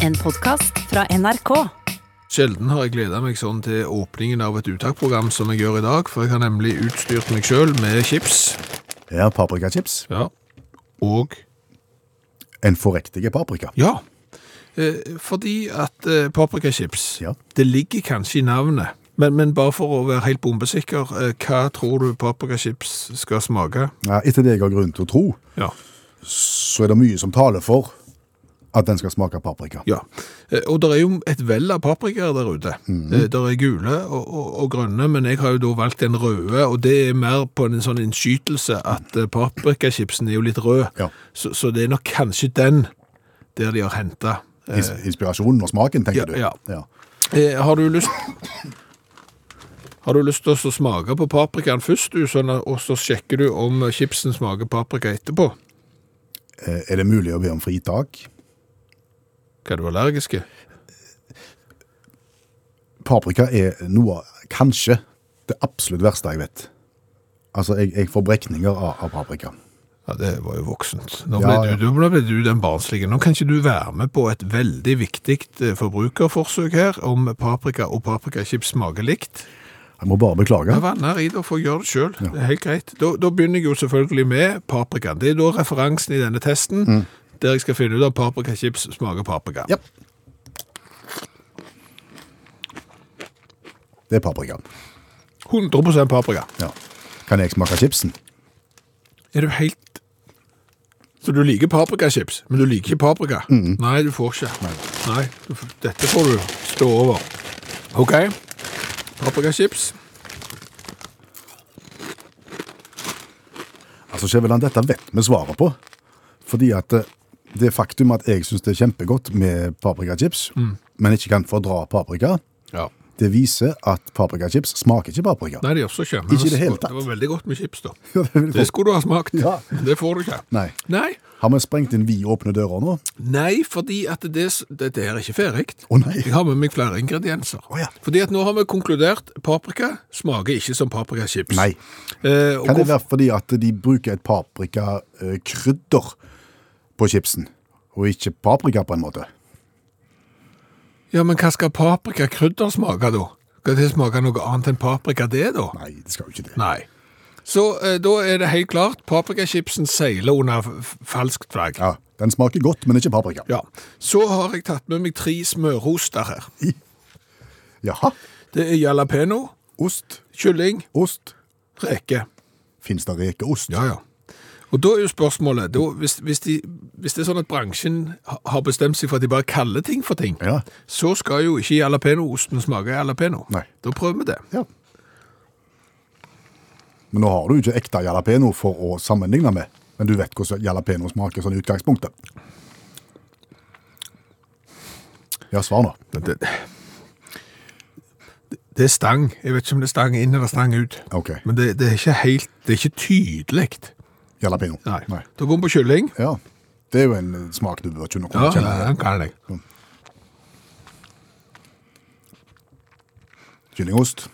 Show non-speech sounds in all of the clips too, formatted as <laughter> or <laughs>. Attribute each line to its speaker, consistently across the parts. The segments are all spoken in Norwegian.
Speaker 1: En podkast fra NRK.
Speaker 2: Sjelden har jeg gleda meg sånn til åpningen av et uttaksprogram som jeg gjør i dag, for jeg har nemlig utstyrt meg sjøl med chips.
Speaker 3: Ja, paprikachips.
Speaker 2: Ja. Og
Speaker 3: En forrektige paprika.
Speaker 2: Ja. Eh, fordi at eh, paprikachips
Speaker 3: Ja.
Speaker 2: Det ligger kanskje i navnet, men, men bare for å være helt bombesikker, eh, hva tror du paprikachips skal smake?
Speaker 3: Ja, etter det jeg har grunn til å tro,
Speaker 2: Ja.
Speaker 3: så er det mye som taler for at den skal smake paprika.
Speaker 2: Ja, Eh, og det er jo et vell av paprikaer der ute. Det er gule og, og, og grønne, men jeg har jo da valgt den røde, og det er mer på en sånn innskytelse at eh, paprikachipsen er jo litt rød,
Speaker 3: Ja.
Speaker 2: så, så det er nok kanskje den der de har hentet. Eh,
Speaker 3: Ins inspirasjonen og smaken,
Speaker 2: ja,
Speaker 3: tenker
Speaker 2: ja.
Speaker 3: du. Ja.
Speaker 2: eh, har du lyst... Har du lyst til å smake på paprikaen først, du, sånn, at- og så sjekker du om chipsen smaker paprika etterpå?
Speaker 3: Eh, Er det mulig å be om fritak?
Speaker 2: Hva er du allergisk i?
Speaker 3: Paprika er noe av kanskje det absolutt verste jeg vet. Altså, jeg, jeg får brekninger av, av paprika.
Speaker 2: Ja, det var jo voksent. Nå
Speaker 3: Ja,
Speaker 2: ble,
Speaker 3: ja.
Speaker 2: Du, nå ble du den barnslige. Nå kan ikke du være med på et veldig viktig eh, forbrukerforsøk her, om paprika og paprikachips smaker likt.
Speaker 3: Jeg må bare beklage.
Speaker 2: Ja, vann her i da, for å gjøre det selv. Det er helt greit. Da, da begynner jeg jo selvfølgelig med paprikaen. Det er da referansen i denne testen, der jeg skal finne ut om paprikachips smaker paprika.
Speaker 3: Mm. Ja. Det er paprikaen.
Speaker 2: 100 paprika.
Speaker 3: Ja. Kan jeg smake chipsen?
Speaker 2: Er du helt... Så du liker paprikachips, men du liker ikke paprika?
Speaker 3: Mm.
Speaker 2: Nei, du får ikke. Nei, du f- dette får du stå over. Ok, paprikachips.
Speaker 3: Altså, Skjæveland, dette vet vi svaret på. Fordi at eh, det faktum at jeg syns det er kjempegodt med paprikachips,
Speaker 2: Mm.
Speaker 3: men ikke kan fordra paprika,
Speaker 2: Ja.
Speaker 3: det viser at paprikachips smaker ikke paprika.
Speaker 2: Nei, det gjør så ikke.
Speaker 3: Ikke i det hele tatt.
Speaker 2: Det var veldig godt med chips, da.
Speaker 3: <laughs> Ja, det vil jeg
Speaker 2: Det
Speaker 3: tro.
Speaker 2: skulle du ha smakt.
Speaker 3: Ja.
Speaker 2: Det får du ikke.
Speaker 3: Nei.
Speaker 2: Nei,
Speaker 3: Har vi sprengt inn vid åpne dører nå? Å
Speaker 2: Nei, fordi at det, s- dette her er ikke ferdig.
Speaker 3: nei.
Speaker 2: Jeg har med meg flere ingredienser.
Speaker 3: Å, ja.
Speaker 2: Fordi at nå har vi konkludert paprika smaker ikke som paprikachips.
Speaker 3: Nei.
Speaker 2: Eh, og
Speaker 3: Kan det
Speaker 2: hvorfor-
Speaker 3: være fordi at de bruker et paprikakrydder eh, på chipsen, og ikke paprika på en måte?
Speaker 2: Ja, men hva skal paprikakrydder smake da? Skal det smake noe annet enn paprika det da?
Speaker 3: Nei, det skal jo ikke det.
Speaker 2: Nei. Så eh, da er det helt klart, paprikachipsen seiler under f- falskt flagg.
Speaker 3: Ja, Den smaker godt, men ikke paprika.
Speaker 2: Ja. Så har jeg tatt med meg tre smørhoster her.
Speaker 3: Jaha.
Speaker 2: Det er jalapeno,
Speaker 3: Ost.
Speaker 2: kylling,
Speaker 3: Ost.
Speaker 2: reke.
Speaker 3: Fins det rekeost?
Speaker 2: Ja, ja. Og da er jo spørsmålet, da, hvis, hvis, de, hvis det er sånn at bransjen ha- har bestemt seg for at de bare kaller ting for ting,
Speaker 3: Ja.
Speaker 2: så skal jo ikke jalapenoosten smake jalapeno.
Speaker 3: Nei.
Speaker 2: Da prøver vi det.
Speaker 3: Ja. Men nå har du jo ikke ekte jalapeno for å sammenligne med, men du vet hvordan jalapeno smaker sånn i utgangspunktet. Ja, svar nå.
Speaker 2: Men Det, det er stang. Jeg vet ikke om det er stang inn eller stang ut.
Speaker 3: Ok.
Speaker 2: Men det, det er ikke helt Det er ikke tydelig.
Speaker 3: Jalapeno.
Speaker 2: Nei. Da går vi på kylling.
Speaker 3: Ja. Det er jo en smak du bør kunne
Speaker 2: Ja,
Speaker 3: kunne kjenne.
Speaker 2: den kan jeg.
Speaker 3: Kyllingost.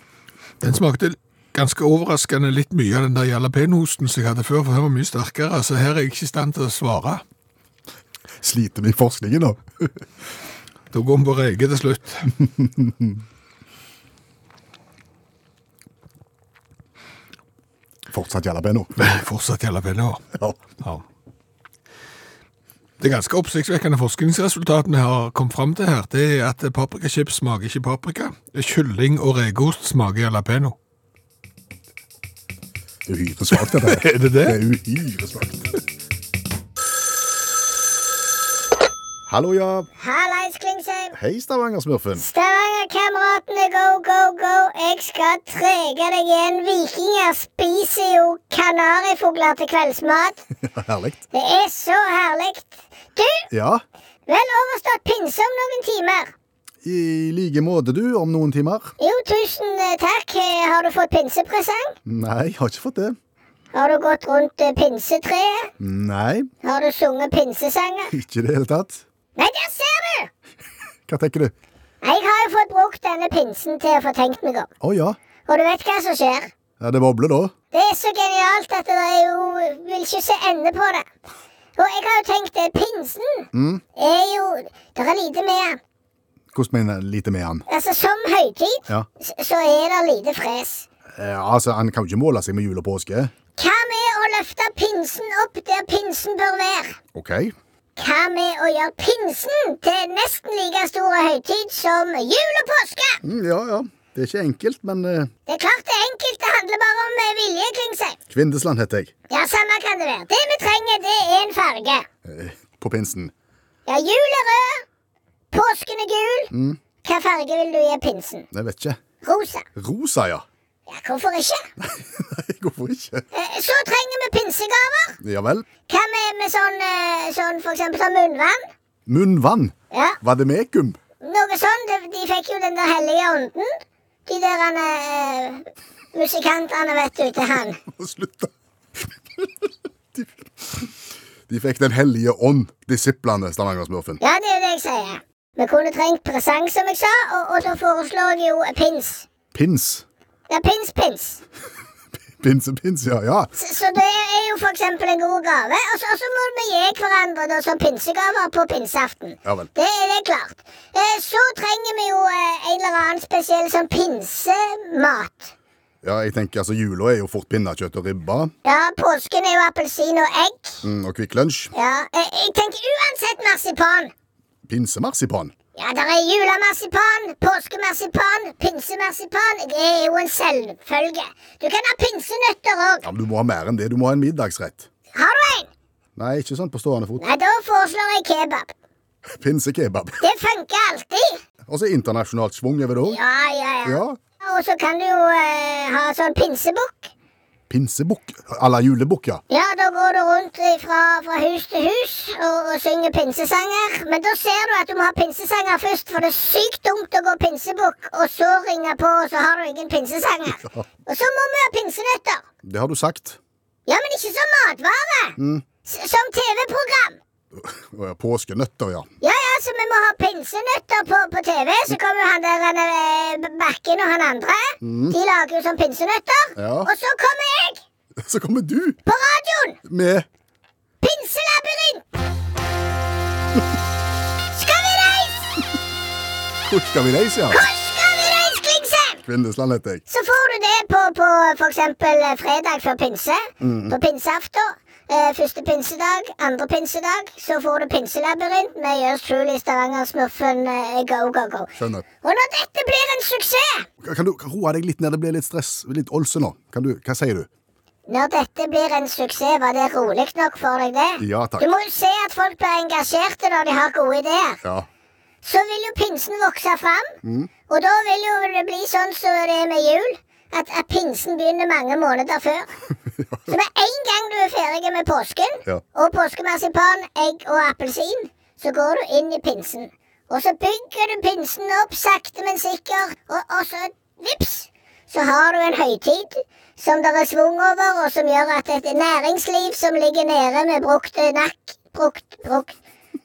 Speaker 2: Den smakte ganske overraskende litt mye av den der jalapenoosten som jeg hadde før, for den var mye sterkere, så her er jeg ikke i stand til å svare.
Speaker 3: Sliter med forskningen nå.
Speaker 2: Da går vi på reke til slutt.
Speaker 3: Fortsatt jalapeno.
Speaker 2: <laughs> Fortsatt jalapeno.
Speaker 3: Ja.
Speaker 2: Ja. Det ganske oppsiktsvekkende forskningsresultatene har kommet fram til her, det er at paprikachips smaker ikke paprika. Kylling og rekeost smaker jalapeno.
Speaker 3: Det er uhyre svakt, dette
Speaker 2: <laughs>
Speaker 3: her.
Speaker 2: Er <laughs> det det?
Speaker 3: Det er uhyre svakt. Hallo, ja.
Speaker 4: Hallais, Klingsheim.
Speaker 3: Hei, Stavanger-smurfen. <laughs>
Speaker 4: Stavanger-kameratene, go, go, go. Jeg skal trege deg igjen. Vikinger spiser jo kanarifugler til kveldsmat.
Speaker 3: Herlig.
Speaker 4: Det er så herlig. Du,
Speaker 3: Ja.
Speaker 4: vel overstått pinse om noen timer.
Speaker 3: I like måte, du, om noen timer.
Speaker 4: Jo, tusen eh, takk. Eh, Har du fått pinsepresang?
Speaker 3: Nei, jeg har ikke fått det.
Speaker 4: Har du gått rundt eh, pinsetreet?
Speaker 3: Nei,
Speaker 4: Har du sunget pinsesanger?
Speaker 3: ikke i det hele tatt.
Speaker 4: Nei, der ser du!
Speaker 3: Hva tenker du?
Speaker 4: Jeg har jo fått brukt denne pinsen til å få tenkt meg om.
Speaker 3: Å ja,
Speaker 4: Og du vet hva som skjer?
Speaker 3: ja det bobler da.
Speaker 4: Det er så genialt at det er jo vil ikke se ende på det. Og jeg har jo tenkt det, pinsen er jo Det er lite med.
Speaker 3: Hvordan mener jeg lite med han?
Speaker 4: Altså, som høytid
Speaker 3: Ja.
Speaker 4: s- så er det lite fres.
Speaker 3: Eh, altså, Han kan jo ikke måle seg med jul og påske.
Speaker 4: Hva med å løfte pinsen opp der pinsen bør være?
Speaker 3: OK.
Speaker 4: Hva med å gjøre pinsen til nesten like stor høytid som jul og påske?
Speaker 3: Mm, ja, ja. Det er ikke enkelt, men eh,
Speaker 4: Det er klart det er enkelt, det handler bare om eh, vilje kring seg.
Speaker 3: Kvindesland heter jeg.
Speaker 4: Ja, samme kan det være. Det vi trenger, det er en farge.
Speaker 3: Eh, på pinsen.
Speaker 4: Ja, jul er rød, påsken er gul. Hva farge vil du gi pinsen?
Speaker 3: Jeg vet ikke.
Speaker 4: Rosa.
Speaker 3: Rosa, ja. <laughs>
Speaker 4: Ja, hvorfor ikke?
Speaker 3: Nei, hvorfor ikke?
Speaker 4: Eh, Så trenger vi pinsegaver.
Speaker 3: Ja vel.
Speaker 4: Hva med, med sånn, eh, sånn for eksempel sånn munnvann?
Speaker 3: Munnvann.
Speaker 4: Ja,
Speaker 3: Vademekum.
Speaker 4: noe sånn. De, de fikk jo den der hellige ånden. De der eh, musikantene, vet du, til han.
Speaker 3: <laughs> Må slutte. <laughs> De, de fikk Den hellige ånd, disiplene, Stavanger-smurfen.
Speaker 4: Ja, det er det jeg sier. Vi kunne trengt presang, som jeg sa, og, og så foreslår jeg jo pins.
Speaker 3: Pins.
Speaker 4: Ja, pins, pins.
Speaker 3: Pinsepins, ja. ja.
Speaker 4: Så, så det er jo for eksempel en god gave. Og så, og så må vi gi hverandre da som pinsegaver på pinseaften.
Speaker 3: Ja vel.
Speaker 4: Det er det klart. Eh, så trenger vi jo eh, en eller annen spesiell sånn pinsemat.
Speaker 3: ja jeg tenker altså, Jula er jo fort pinnekjøtt og ribba
Speaker 4: Ja, påsken er jo appelsin og egg.
Speaker 3: mm, og Kvikk Lunsj.
Speaker 4: Ja, eh, jeg tenker uansett marsipan.
Speaker 3: Pinsemarsipan.
Speaker 4: Ja, der er julemarsipan, påskemarsipan, pinsemarsipan. Det er jo en selvfølge. Du kan ha pinsenøtter òg.
Speaker 3: Ja, men Du må ha mer enn det. Du må ha en middagsrett.
Speaker 4: Har du en?
Speaker 3: Nei, ikke sånn på stående fot.
Speaker 4: Nei, da foreslår jeg kebab.
Speaker 3: Pinsekebab.
Speaker 4: Det funker alltid.
Speaker 3: Og så internasjonalt schwung over det òg.
Speaker 4: Ja, ja, ja.
Speaker 3: Ja.
Speaker 4: Og så kan du jo eh, ha sånn pinsebukk.
Speaker 3: Pinsebukk. À la julebukk, ja.
Speaker 4: Ja, da går du rundt i- fra, fra hus til hus og, og synger pinsesanger. Men da ser du at du må ha pinsesanger først, for det er sykt dumt å gå pinsebukk og så ringe på, og så har du ingen pinsesanger. Og så må vi ha pinsenøtter.
Speaker 3: Det har du sagt.
Speaker 4: Ja, men ikke som matvare. S- Som TV-program.
Speaker 3: Og Påskenøtter, ja.
Speaker 4: Ja, ja, så vi må ha pinsenøtter på, på TV. Så kommer jo han der han, eh, Bakken og han andre. De lager jo sånn pinsenøtter.
Speaker 3: Ja.
Speaker 4: Og så kommer jeg
Speaker 3: Så kommer du
Speaker 4: på radioen!
Speaker 3: med
Speaker 4: Pinselabyrint! Skal vi reise?
Speaker 3: Hvor skal vi reise, ja?
Speaker 4: Hvor skal vi reise, Klingsheim?
Speaker 3: Kvindesland heter jeg.
Speaker 4: Så får du det på, på for eksempel eh, fredag før pinse.
Speaker 3: Mm.
Speaker 4: På pinseaften. Eh, første pinsedag, andre pinsedag. Så får du pinselabyrint med Yours Truly Stavanger-smurfen eh, Go, Go, Go.
Speaker 3: Skjønner.
Speaker 4: Og når dette blir en suksess
Speaker 3: Kan du roe deg litt ned? Det blir litt stress. Litt olse nå. Kan du, hva sier du?
Speaker 4: Når dette blir en suksess, var det rolig nok for deg, det?
Speaker 3: Ja, takk.
Speaker 4: Du må jo se at folk blir engasjerte når de har gode ideer.
Speaker 3: Ja.
Speaker 4: Så vil jo pinsen vokse fram, og da vil jo det bli sånn som det er med jul. At, at pinsen begynner mange måneder før. Så med en gang du er ferdig med påsken,
Speaker 3: Ja.
Speaker 4: og påskemarsipan, egg og appelsin, så går du inn i pinsen. Og så bygger du pinsen opp sakte, men sikker, og, og så vips, så har du en høytid som det er svung over, og som gjør at et næringsliv som ligger nede med brukte nakk, brukt, brukt,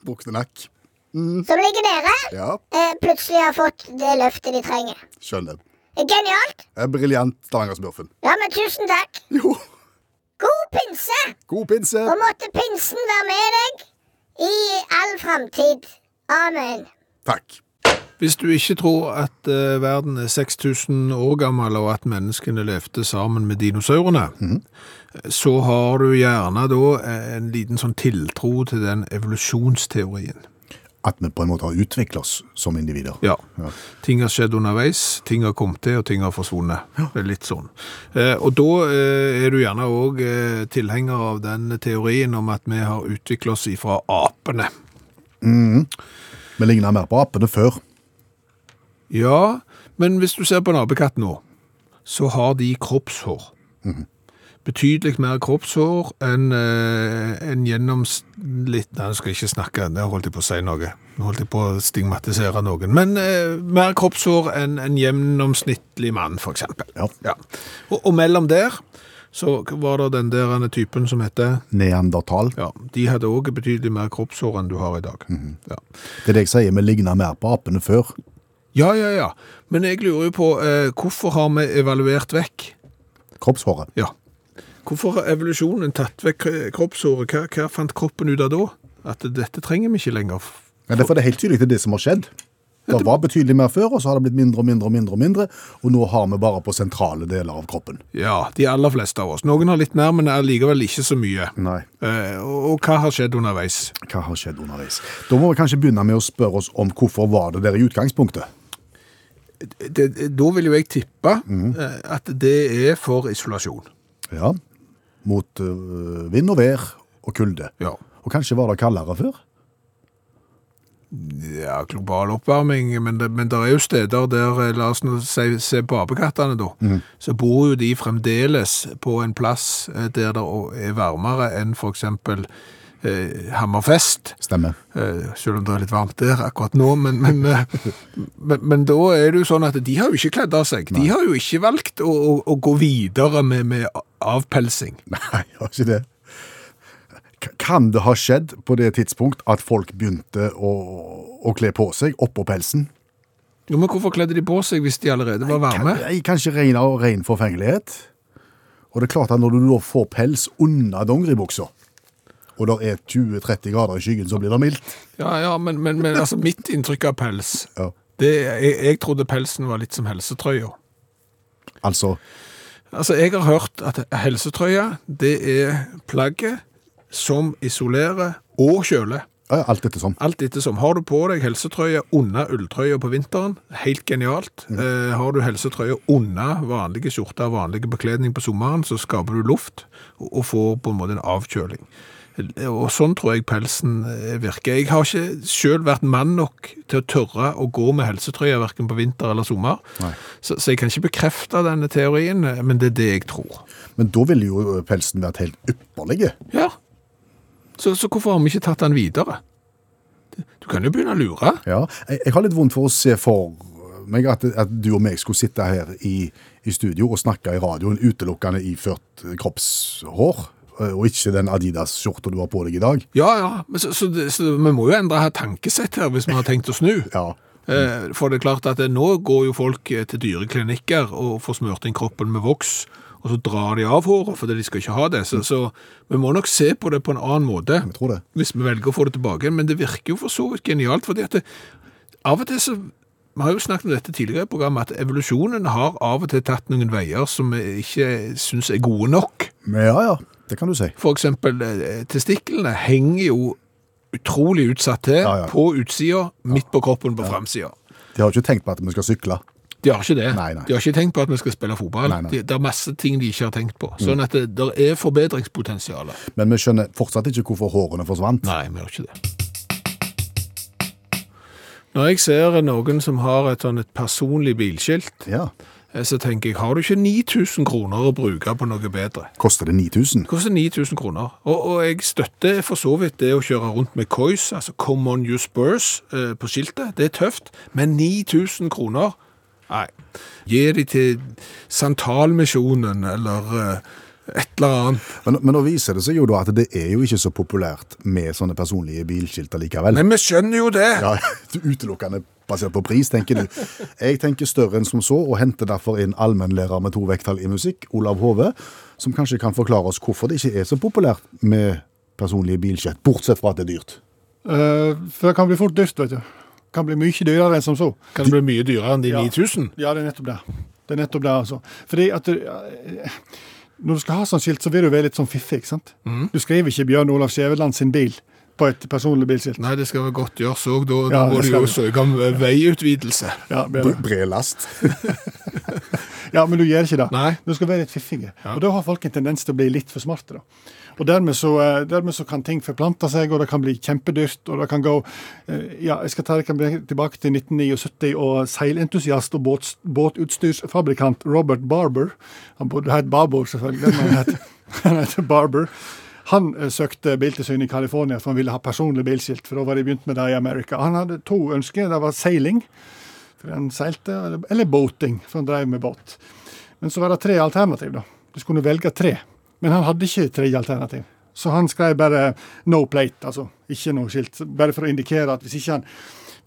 Speaker 3: Brukte nakk.
Speaker 4: som ligger nede,
Speaker 3: Ja.
Speaker 4: eh, plutselig har fått det løftet de trenger.
Speaker 3: Skjønner.
Speaker 4: Genialt!
Speaker 3: Eh, Briljant, Stavanger-smurfen.
Speaker 4: Ja, men tusen takk.
Speaker 3: Jo.
Speaker 4: God pinse!
Speaker 3: God pinse.
Speaker 4: Og måtte pinsen være med deg i all framtid. Amen.
Speaker 3: Takk.
Speaker 2: Hvis du ikke tror at eh, verden er 6000 år gammel, og at menneskene levde sammen med dinosaurene, så har du gjerne da en liten sånn tiltro til den evolusjonsteorien.
Speaker 3: At vi på en måte har utviklet oss som individer.
Speaker 2: Ja.
Speaker 3: Ja.
Speaker 2: Ting har skjedd underveis, ting har kommet til, og ting har forsvunnet. Det er litt sånn. Eh, og da eh, er du gjerne òg eh, tilhenger av den teorien om at vi har utvikla oss ifra apene.
Speaker 3: Vi ligner mer på apene før.
Speaker 2: Ja, men hvis du ser på en apekatt nå, så har de kroppshår. Betydelig mer kroppshår enn eh, en gjennomsnitt... Nei, jeg skal ikke snakke, det holdt jeg på å si noe. Nå holdt jeg på å stigmatisere noen. Men eh, mer kroppshår enn en gjennomsnittlig mann, for eksempel.
Speaker 3: Ja.
Speaker 2: Ja. Og, og mellom der, så var det den der ene typen som heter...
Speaker 3: Neandertal.
Speaker 2: Ja, de hadde også betydelig mer kroppshår enn du har i dag. Ja.
Speaker 3: Det er det jeg sier, vi ligner mer på apene før.
Speaker 2: Ja, ja, ja. Men jeg lurer jo på eh, hvorfor har vi evaluert vekk?
Speaker 3: Kroppshåret.
Speaker 2: Ja. Hvorfor har evolusjonen tatt vekk kro- kroppshåret? Hva, hva fant kroppen ut av da? At dette trenger vi ikke lenger.
Speaker 3: Ja, derfor er det helt tydelig at det er det som har skjedd. Det var betydelig mer før, og så har det blitt mindre og mindre og mindre, og mindre, og nå har vi bare på sentrale deler av kroppen.
Speaker 2: Ja, de aller fleste av oss. Noen har litt mer, men er likevel ikke så mye.
Speaker 3: Nei.
Speaker 2: Eh, og, og hva har skjedd underveis?
Speaker 3: Hva har skjedd underveis? Da må vi kanskje begynne med å spørre oss om hvorfor var det der i utgangspunktet?
Speaker 2: Det, da vil jo jeg tippe eh, at det er for isolasjon.
Speaker 3: Ja, mot øh, vind og vær og kulde.
Speaker 2: Ja.
Speaker 3: Og kanskje var det kaldere før?
Speaker 2: Ja, global oppvarming, men det, men det er jo steder der, eh, la oss nå si, se på apekattene da,
Speaker 3: Mm.
Speaker 2: så bor jo de fremdeles på en plass eh, der det å- er varmere enn for eksempel eh, Hammerfest,
Speaker 3: Stemmer. <laughs>
Speaker 2: eh, selv om det er litt varmt der akkurat nå, men, men, eh, <laughs> men, men da er det jo sånn at de har jo ikke kledd av seg. De har jo ikke valgt å, å, å gå videre med, med avpelsing.
Speaker 3: Nei, det var ikke det. K- Kan det ha skjedd på det tidspunkt at folk begynte å, å kle på seg oppå pelsen?
Speaker 2: Jo, men hvorfor kledde de på seg hvis de allerede var varme?
Speaker 3: Kan- nei, Kanskje ren og ren forfengelighet. Og det er klart at når du da får pels under dongeribuksa, og det er 20-30 grader i skyggen, så blir det mildt.
Speaker 2: Ja, ja, men, men, men altså, mitt inntrykk av pels
Speaker 3: Ja.
Speaker 2: det, jeg, jeg trodde pelsen var litt som helsetrøya.
Speaker 3: Altså,
Speaker 2: Altså, jeg har hørt at helsetrøya, det er plagget som isolerer og kjøler.
Speaker 3: ja, alt dette sånn.
Speaker 2: Alt ettersom. Har du på deg helsetrøya under ulltrøya på vinteren, helt genialt. Eh, har du helsetrøya under vanlige skjorter og vanlige bekledning på sommeren, så skaper du luft og, og får på en måte en avkjøling. Eh, Og sånn tror jeg pelsen eh, virker. Jeg har ikke selv vært mann nok til å tørre å gå med helsetrøya hverken på vinter eller sommer,
Speaker 3: Nei.
Speaker 2: så, så jeg kan ikke bekrefte denne teorien, eh, men det er det jeg tror.
Speaker 3: Men da ville jo pelsen vært helt ypperlig.
Speaker 2: Ja. Så, så hvorfor har vi ikke tatt den videre? Du kan jo begynne å lure.
Speaker 3: Ja. Jeg, jeg har litt vondt for å se for meg at, at du og meg skulle sitte her i, i studio og snakke i radioen utelukkende iført eh, kroppshår, eh, og ikke den Adidas-skjorta du har på deg i dag.
Speaker 2: Ja, ja. Men så, så, det- så vi må jo endre her tankesett her hvis vi har tenkt å snu.
Speaker 3: Ja.
Speaker 2: Eh, For det er klart at eh, nå går jo folk eh, til dyreklinikker og får smørt inn kroppen med voks, og så drar de av håret fordi de skal ikke ha det. Så, så vi må nok se på det på en annen måte
Speaker 3: Jeg tror det.
Speaker 2: hvis vi velger å få det tilbake. igjen, Men det virker jo for så vidt genialt, fordi at det, av og til så vi har jo snakket om dette tidligere i programmet, at evolusjonen har av og til tatt noen veier som vi ikke synes er gode nok.
Speaker 3: Men ja, ja. Det kan du si.
Speaker 2: For eksempel eh, testiklene henger jo utrolig utsatt til
Speaker 3: Ja, ja.
Speaker 2: på utsida, midt på kroppen på fremsida.
Speaker 3: De har jo ikke tenkt på at vi skal sykle.
Speaker 2: De har ikke det.
Speaker 3: Nei, nei.
Speaker 2: De har ikke tenkt på at vi skal spille fotball.
Speaker 3: Nei, Mm. nei.
Speaker 2: De, det er masse ting de ikke har tenkt på. Sånn at det der er forbedringspotensial.
Speaker 3: Men vi skjønner fortsatt ikke hvorfor hårene forsvant.
Speaker 2: Nei, vi har ikke det. Når jeg ser noen som har et, sånn, et personlig bilskilt,
Speaker 3: Ja.
Speaker 2: eh, så tenker jeg, har du ikke 9000 kroner å bruke på noe bedre?
Speaker 3: Koster det 9000?
Speaker 2: Det koster 9000 kroner. Og, og jeg støtter for så vidt det å kjøre rundt med COIS, altså Come On You Spurs, eh, på skiltet. Det er tøft. Men 9000 kroner? Nei. Gi de til Santalmisjonen eller eh, et eller annet.
Speaker 3: Men, men nå viser det seg jo da at det er jo ikke så populært med sånne personlige bilskilt likevel.
Speaker 2: Nei, vi skjønner jo det!
Speaker 3: Ja, <laughs> utelukkende basert på pris, tenker du. Jeg tenker større enn som så, og henter derfor inn allmennlærer med to vekttall i musikk, Olav Hove, som kanskje kan forklare oss hvorfor det ikke er så populært med personlige bilskilt, bortsett fra at det er dyrt.
Speaker 5: Eh, for det kan bli fort dyrt, vet du. Det kan bli mye dyrere enn som så.
Speaker 2: Kan det bli mye dyrere enn de
Speaker 5: Ja.
Speaker 2: 9000?
Speaker 5: Ja, det er nettopp det. Det er nettopp det, altså. Fordi at du, eh, Når du skal ha sånn skilt, så vil du være litt sånn fiffig, ikke sant? Du skriver ikke Bjørn Olav Skjæveland sin bil på et personlig bilskilt.
Speaker 2: Nei, det skal vel godt gjøres òg. Da, da
Speaker 5: Ja,
Speaker 2: må
Speaker 5: det
Speaker 2: du jo
Speaker 5: skal vi.
Speaker 2: søke om eh, veiutvidelse.
Speaker 5: Ja, bedre.
Speaker 3: Bred last.
Speaker 5: ja, men du gjør ikke det.
Speaker 2: Nei.
Speaker 5: Du skal være litt fiffige. Og da har folk en tendens til å bli litt for smarte, da. Og dermed så, eh, dermed så kan ting forplante seg, og det kan bli kjempedyrt, og det kan gå eh, Ja, jeg skal ta dere tilbake til 1979 og seilentusiast og båts, båtutstyrsfabrikant Robert Barber. Han bodde het Barbour, selvfølgelig, men han het, <laughs> han het Barber. Han eh, søkte Biltilsynet i California, for han ville ha personlig bilskilt. for da var de begynt med det i Amerika. Han hadde to ønsker. Det var seiling, for han seilte, eller- eller boating, for han drev med båt. Men så var det tre alternativ, da. Du skulle velge tre. Men han hadde ikke tre alternativ. Så han skrev bare 'no plate', altså ikke noe skilt. Bare for å indikere at hvis ikke han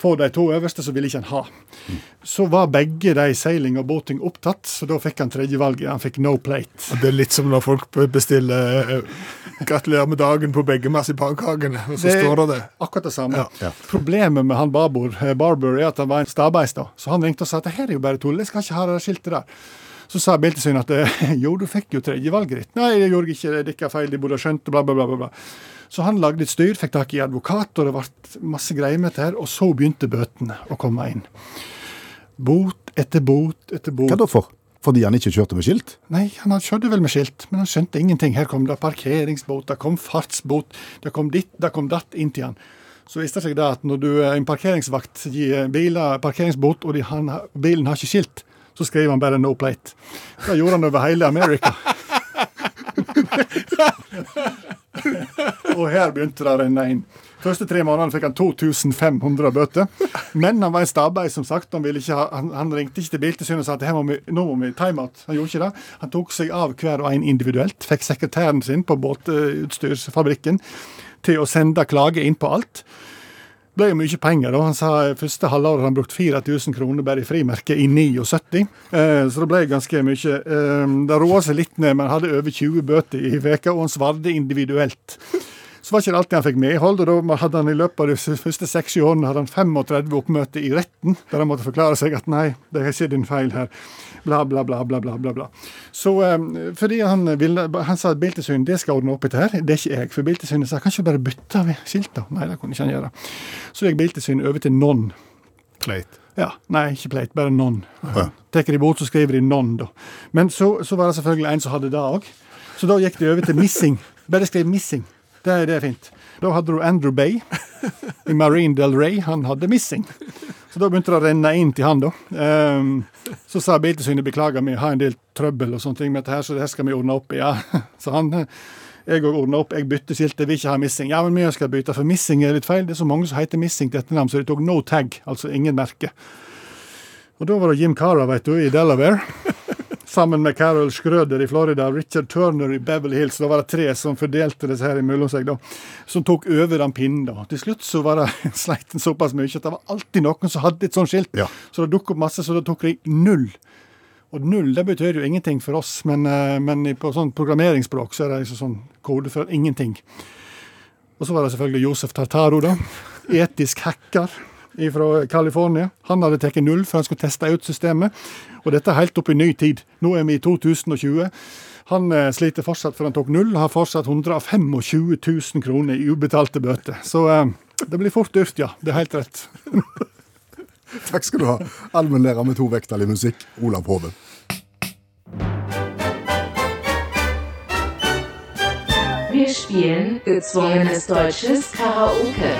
Speaker 5: få de to øverste, så ville ikke han ha. Så var begge de seiling og båting opptatt, så da fikk han tredjevalget. Han fikk no plate.
Speaker 2: Det er litt som når folk bestiller eh, 'gratulerer med dagen' på begge marsipankakene, og så står det det.
Speaker 5: Akkurat det samme.
Speaker 2: Ja.
Speaker 3: Ja.
Speaker 5: Problemet med han Barbour, eh, Barbour er at han var en stabeis, da. Så han ringte og sa at det her er jo bare tull, jeg skal ikke ha det der skiltet der. Så sa Biltilsynet at eh, <laughs> jo, du fikk jo tredjevalget ditt. Nei, jeg gjorde ikke det, dere er feil, de burde ha skjønt det, bla, bla, bla. bla, bla. Så han lagde et styr, fikk tak i advokat, og det ble masse greier med dette her. Og så begynte bøtene å komme inn. Bot etter bot etter bot.
Speaker 3: Hva da for? Fordi han ikke kjørte med skilt?
Speaker 5: Nei, han hadde- kjørte vel med skilt, men han skjønte ingenting. Her kom det parkeringsbot, det kom fartsbot, det kom ditt, det kom datt inn til han. Så viste det seg da at når du, en parkeringsvakt gir biler parkeringsbot, og de, han, bilen har ikke skilt, så skriver han bare 'no plate'. Det gjorde han over hele Amerika. <laughs> og her begynte det å renne inn. Første tre månedene fikk han 2500 bøter. Men han var en stabbeis, som sagt. Han, ville ikke ha, han, han ringte ikke til Biltilsynet og sa at her må vi, nå må vi timeout. Han gjorde ikke det. Han tok seg av hver og en individuelt. Fikk sekretæren sin på båtutstyrsfabrikken til å sende klage inn på alt. Det ble jo mye penger. da. Han sa første halvåret hadde han brukt 4000 kroner bare i frimerke i 79. Eh, Så det ble ganske mye. Eh, Det roa seg litt ned, men han hadde over 20 bøter i veka, og han svarte individuelt. Så var ikke det alltid han fikk medhold, og da hadde han i løpet av de s- første 60 årene hadde han 35 oppmøter i retten, der han måtte forklare seg at nei, det er ikke din feil her. Bla, bla, bla, bla, bla, bla. bla. Så eh, fordi han ville, han sa at Biltilsynet det skal ordne opp i dette her, det er ikke jeg. For Biltilsynet sa kan ikke du bare bytte av skilta? Nei, det kunne ikke han gjøre. Så gikk Biltilsynet over til non.
Speaker 2: Pleit.
Speaker 5: Ja, Nei, ikke plate, bare non.
Speaker 3: Ja.
Speaker 5: Tar de bort, så skriver de non, da. Men så, så var det selvfølgelig en som hadde det òg. Så da gikk de over til missing. Bare skriv missing. Det, er- det er fint. Da hadde du Andrew Bay i Marine Del Rey. Han hadde missing. Så da begynte det å renne inn til han, da. Ehm, så sa Biltilsynet beklager, vi har en del trøbbel og sånne ting med dette, her, så det her skal vi ordne opp i. ja. Så han eh, jeg òg ordna opp, jeg bytter skilt, jeg vil ikke ha missing. Ja, men vi skal bytte, for missing er litt feil. Det er så mange som heter missing til etternavn, så de tok no tag, altså ingen merke. Og da var det Jim Cara, vet du, i Delaware. <laughs> Sammen med Carol Schrøder i Florida og Richard Turner i Beverly Hills. Da var det tre som fordelte disse her imellom seg, da. Som tok over den pinnen, da. Til slutt så var det <laughs> sleit en såpass mye at det var alltid noen som hadde et sånt skilt.
Speaker 3: Ja.
Speaker 5: Så det dukket opp masse, så da tok de null. Og null det betyr jo ingenting for oss, men, eh, men i- på sånn programmeringsspråk så er det liksom sånn kode for ingenting. Og så var det selvfølgelig Josef Tartaro, da. Etisk hacker fra California. Han hadde tatt null før han skulle teste ut systemet. Og dette er helt opp i ny tid. Nå er vi i 2020. Han eh, sliter fortsatt for han tok null, og har fortsatt 125 000 kroner i ubetalte bøter. Så eh, det blir fort dyrt, ja. Det er helt rett.
Speaker 3: <laughs> Takk skal du ha, allmennlærer med to vekttall i musikk, Olav Hove.
Speaker 6: Wir spielen gezwungenes deutsches Karaoke.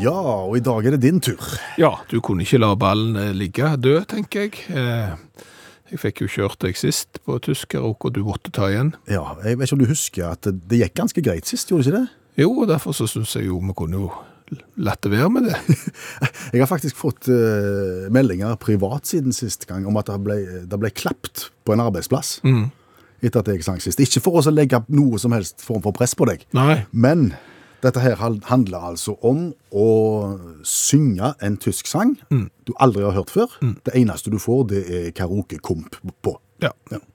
Speaker 3: Ja, og i dag er det din tur.
Speaker 2: Ja, du kunne ikke la ballen eh, ligge død, tenker jeg. Eh, Jeg fikk jo kjørt deg sist på tyskerrock, og du måtte ta igjen.
Speaker 3: Ja, jeg vet ikke om du husker at det gikk ganske greit sist, gjorde det ikke det?
Speaker 2: Jo, og derfor så syns jeg jo vi kunne jo latt det være med det.
Speaker 3: Jeg har faktisk fått eh, meldinger privat siden sist gang om at det ble, det ble klapt på en arbeidsplass etter at jeg sang sist. Ikke for å legge noe som helst form for press på deg,
Speaker 2: <laughs> Nei.
Speaker 3: men dette her hal- handler altså om å synge en tysk sang du aldri har hørt før. Det eneste du får, det er karaokekomp på.
Speaker 2: Ja.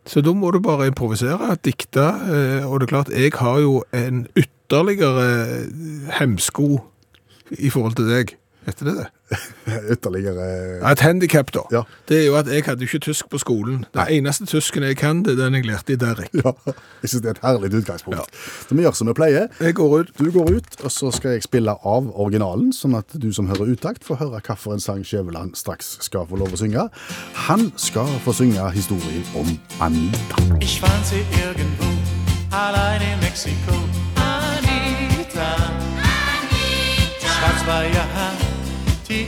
Speaker 2: Så da må du bare improvisere, dikte, eh, og det er klart, jeg har jo en ytterligere eh, hemsko i forhold til deg. Heter det det?
Speaker 3: Ytterligere
Speaker 2: Ja, Et handikap, da.
Speaker 3: Ja.
Speaker 2: Det er jo at jeg hadde jo ikke tysk på skolen. Den eneste tysken jeg kan, det er den jeg lærte i Derrick.
Speaker 3: Ja, jeg syns det er et herlig utgangspunkt. Så vi gjør som vi pleier.
Speaker 2: Jeg går ut.
Speaker 3: Du går ut, og så skal jeg spille av originalen, sånn at du som hører utakt, får høre hvilken sang Skjæveland straks skal få lov å synge. Han skal få synge historien om Anita.
Speaker 7: Ich fand sie irgendwo, allein in Mexiko. Anita. Schwarz war ihr Haar, die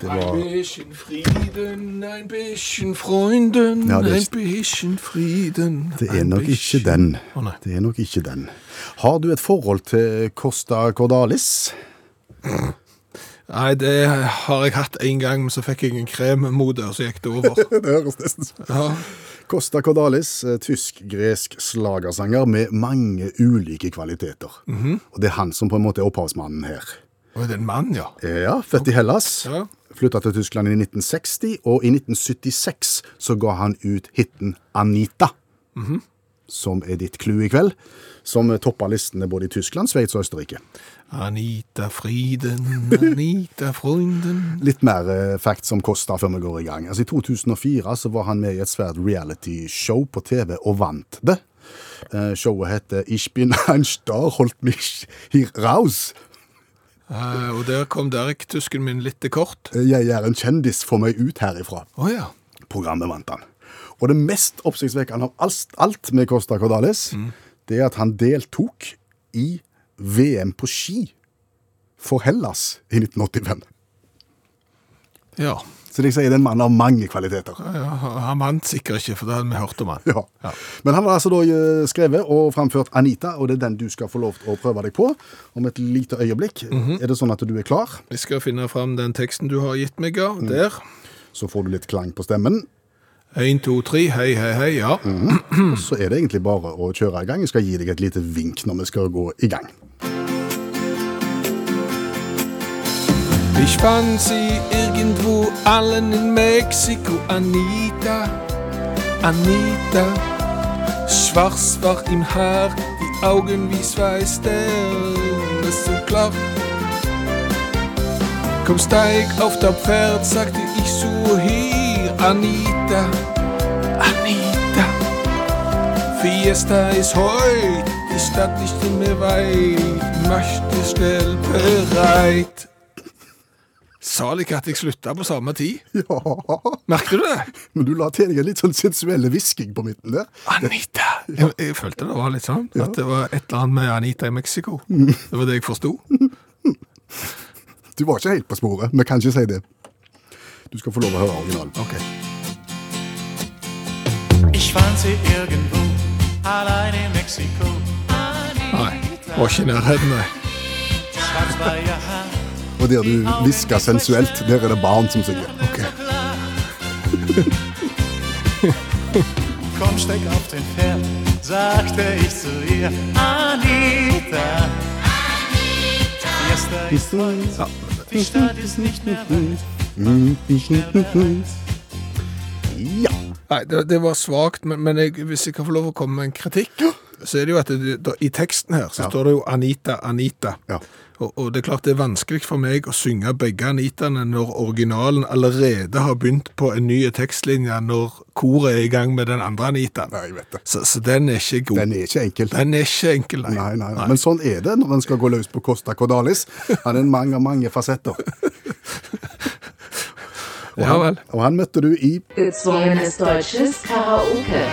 Speaker 3: Det var
Speaker 2: bisschen Frieden, ein bisschen Freunden,
Speaker 3: Ja, det er-
Speaker 2: ein bisschen Frieden.
Speaker 3: Det er
Speaker 2: ein
Speaker 3: nok ikke
Speaker 2: bisschen-
Speaker 3: den.
Speaker 2: Å, nei.
Speaker 3: Det er nok ikke den. Har du et forhold til Costa Cordalis?
Speaker 2: Nei, det har jeg hatt en gang, men så fikk jeg en krem mot det, og så gikk det
Speaker 3: <laughs>
Speaker 2: over.
Speaker 3: <laughs> Det høres nesten sånn
Speaker 2: Ja.
Speaker 3: Costa Cordalis, eh, tysk-gresk slagersanger med mange ulike kvaliteter. Og det er han som på en måte er opphavsmannen her.
Speaker 2: Og det er en mann, ja.
Speaker 3: Ja, født i Hellas,
Speaker 2: Ja.
Speaker 3: flytta til Tyskland i 1960, og i 1976 så ga han ut hiten Anita. Som er ditt clou i kveld. Som toppa listene både i Tyskland, Sveits og Østerrike.
Speaker 2: Anita Frieden, Anita Freunden.
Speaker 3: Litt mer eh, facts om Kosta før vi går i gang. Altså, I 2004 så var han med i et svært reality-show på TV og vant det. Eh, showet heter Ich bin ein Star, holdt mich hier raus.
Speaker 2: Eh, og der kom Derek, tysken min, litt til kort.
Speaker 3: Eh, Jeg er en kjendis, få meg ut herifra.
Speaker 2: Å ja.
Speaker 3: Programmet vant han. Og det mest oppsiktsvekkende av alt, alt med Kosta Cordalis, det er at han deltok i VM på ski for Hellas i 1985.
Speaker 2: Ja.
Speaker 3: Så det jeg sier, det er en mann av mange kvaliteter.
Speaker 2: ja. Han vant sikkert ikke, for det hadde vi hørt om han.
Speaker 3: Ja. Men han har altså da eh, skrevet og framført Anita, og det er den du skal få lov til å prøve deg på om et lite øyeblikk. Er det sånn at du er klar,
Speaker 2: Jeg skal finne fram den teksten du har gitt meg, ja.
Speaker 3: Mm.
Speaker 2: Der.
Speaker 3: så får du litt klang på stemmen.
Speaker 2: Én, to, tre, hei, hei, hei, ja.
Speaker 3: Og så er det egentlig bare å kjøre i gang. Jeg skal gi deg et lite vink når vi skal gå i gang. <laughs>
Speaker 2: Ich fand sie irgendwo allen in Mexiko, Anita, Anita. Schwarz war im Haar, die Augen wie zwei Sterne, ist so klar. Komm, steig auf dein Pferd, sagte ich so hier, Anita, Anita. Fiesta ist heut, die Stadt nicht mehr weit, möchte schnell bereit. Sa ikke at jeg slutta på samme tid?
Speaker 3: Ja,
Speaker 2: Merker du det?
Speaker 3: men du la til deg en litt sånn sensuelle hvisking på midten der.
Speaker 2: Anita! Jeg, jeg følte det var litt sånn. At det var et eller annet med Anita i Mexico. Det var det jeg forsto.
Speaker 3: Du var ikke helt på sporet, men kan ikke si det. Du skal få lov å høre originalen.
Speaker 2: Ok.
Speaker 7: Ich fand sie irgendwo, allein in Mexiko.
Speaker 2: Nei. Var ikke i nærheten, nei.
Speaker 7: Schwarz war ihr Haar,
Speaker 3: Og der du hvisker sensuelt, der er det barn som synger.
Speaker 7: komm, steig auf den Pferd, sagte ich zu ihr. Anita, Fiesta ist weiß, die Stadt Ah, ist nicht mehr weit.
Speaker 3: Ja.
Speaker 2: nei det, det var svakt, men, men jeg, hvis jeg kan få lov å komme med en kritikk, så er det jo at det, da, i teksten her så
Speaker 3: Ja.
Speaker 2: står det jo Anita, Anita.
Speaker 3: Ja.
Speaker 2: Og, og det er klart det er vanskelig for meg å synge begge Anitaene når originalen allerede har begynt på en ny tekstlinje når koret er i gang med den andre Anitaen.
Speaker 3: Nei, jeg vet det.
Speaker 2: Så, så den er ikke god.
Speaker 3: Den er ikke enkel.
Speaker 2: Den er ikke enkel, nei.
Speaker 3: Nei, nei, nei. Men sånn er det når en skal gå løs på Costa Cordalis. Han er mange, mange fasetter.
Speaker 2: Ja vel.
Speaker 3: Og han møtte du i
Speaker 6: Gezwungenes deutsches Karaoke.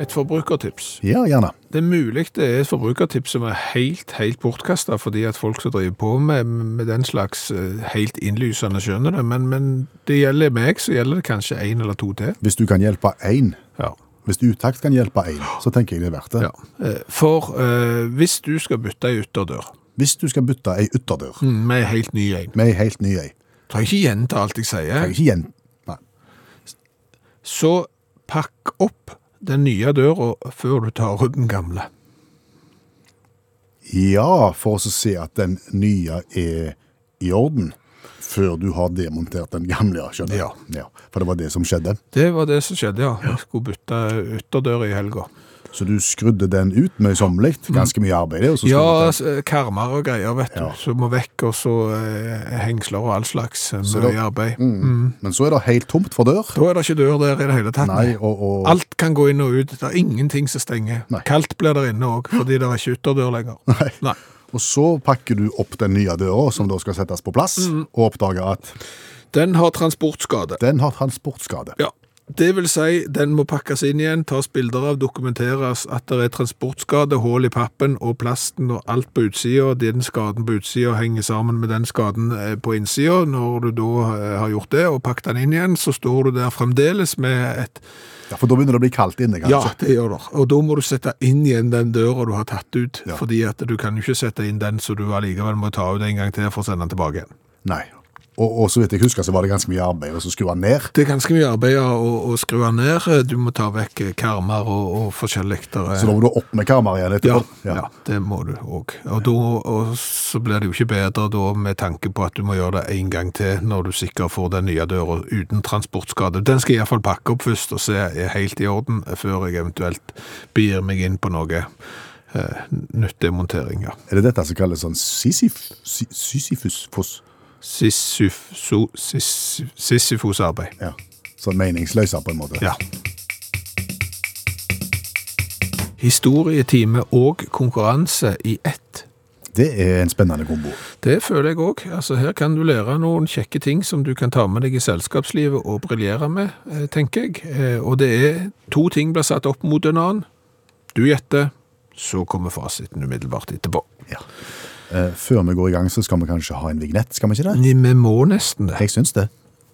Speaker 2: Et forbrukertips.
Speaker 3: Ja, gjerne.
Speaker 2: Det er mulig det er et forbrukertips som er helt, helt bortkasta, fordi at folk som driver på med, med den slags eh, helt innlysende skjønner det, men, men det gjelder meg, så gjelder det kanskje én eller to til.
Speaker 3: Hvis du kan hjelpe én,
Speaker 2: Ja.
Speaker 3: hvis utakt kan hjelpe én, så tenker jeg det er verdt det.
Speaker 2: ja. Eh, For eh, hvis du skal bytte ei ytterdør
Speaker 3: Hvis du skal bytte ei ytterdør
Speaker 2: mm, med ei helt ny en
Speaker 3: med ei helt ny ei,
Speaker 2: Trenger ikke gjenta alt jeg
Speaker 3: jeg
Speaker 2: sier.
Speaker 3: ikke gjen... Nei.
Speaker 2: Så pakk opp den nye døra før du tar ut den gamle.
Speaker 3: Ja, for å så se at den nye er i orden før du har demontert den gamle, skjønner jeg. Ja, for det var det som skjedde.
Speaker 2: Det var det som skjedde, ja. Jeg skulle bytte ytterdør i helga.
Speaker 3: Så du skrudde den ut møysommelig. Ganske mye arbeid. det, Og så skulle
Speaker 2: Mm. Ja,
Speaker 3: den-
Speaker 2: altså, karmer og greier, vet du.
Speaker 3: Ja.
Speaker 2: Som må vekk, og så eh, hengsler og all slags. eh, Mye
Speaker 3: da- Mm.
Speaker 2: arbeid. mm.
Speaker 3: Men så er det helt tomt for dør.
Speaker 2: Da er det ikke dør der i det hele tatt.
Speaker 3: Nei, og, og
Speaker 2: Alt kan gå inn og ut. Det er ingenting som stenger.
Speaker 3: Nei.
Speaker 2: Kaldt blir der inne òg, fordi det er ikke ytterdør lenger.
Speaker 3: <laughs> Nei. Og så pakker du opp den nye døra, som da skal
Speaker 2: Mm.
Speaker 3: settes på plass, og oppdager at
Speaker 2: Den har transportskade.
Speaker 3: den har transportskade.
Speaker 2: Ja. Det vil si, den må pakkes inn igjen, tas bilder av, dokumenteres at det er transportskade, hull i pappen og plasten og alt på utsida. Den skaden på utsida henger sammen med den skaden eh, på innsida. Når du da eh, har gjort det og pakket den inn igjen, så står du der fremdeles med et
Speaker 3: Ja, For da begynner det å bli kaldt inne,
Speaker 2: Ja,
Speaker 3: kanskje.
Speaker 2: det gjør det. Og da må du sette inn igjen den døra du har tatt ut,
Speaker 3: Ja.
Speaker 2: fordi at du kan jo ikke sette inn den, så du allikevel må ta ut en gang til for å sende den tilbake igjen.
Speaker 3: Nei. Og, og så vidt jeg husker, så var det ganske mye arbeid å skru den ned.
Speaker 2: Det er ganske mye arbeid å, å skru den ned. Du må ta vekk karmer og, og forskjellig. eh, Der er-
Speaker 3: Så da må du opp med kameraet igjen
Speaker 2: ja,
Speaker 3: etterpå.
Speaker 2: ja. det må du òg. Og, da- og så blir det jo ikke bedre da med tanke på at du må gjøre det en gang til når du sikkert får den nye døra uten transportskade. Den skal jeg iallfall pakke opp først og se er helt i orden før jeg eventuelt begir meg inn på noe eh, nyttig montering. Ja.
Speaker 3: Er det dette som kalles sånn sisif, si- sisyfus-foss?
Speaker 2: Sisyf- so- sis- Sisyfos-arbeid.
Speaker 3: Ja. Sånn meningsløser, på en måte.
Speaker 2: Ja. Historietime og konkurranse i ett.
Speaker 3: Det er en spennende kombo.
Speaker 2: Det føler jeg òg. Altså, her kan du lære noen kjekke ting som du kan ta med deg i selskapslivet og briljere med, eh, tenker jeg. Eh, Og det er to ting blir satt opp mot en annen. Du gjetter, så kommer fasiten umiddelbart etterpå.
Speaker 3: Ja. Eh, før vi går i gang, så skal vi kanskje ha en vignett, skal vi ikke det?
Speaker 2: Nei, Vi må nesten det.
Speaker 3: Jeg syns det.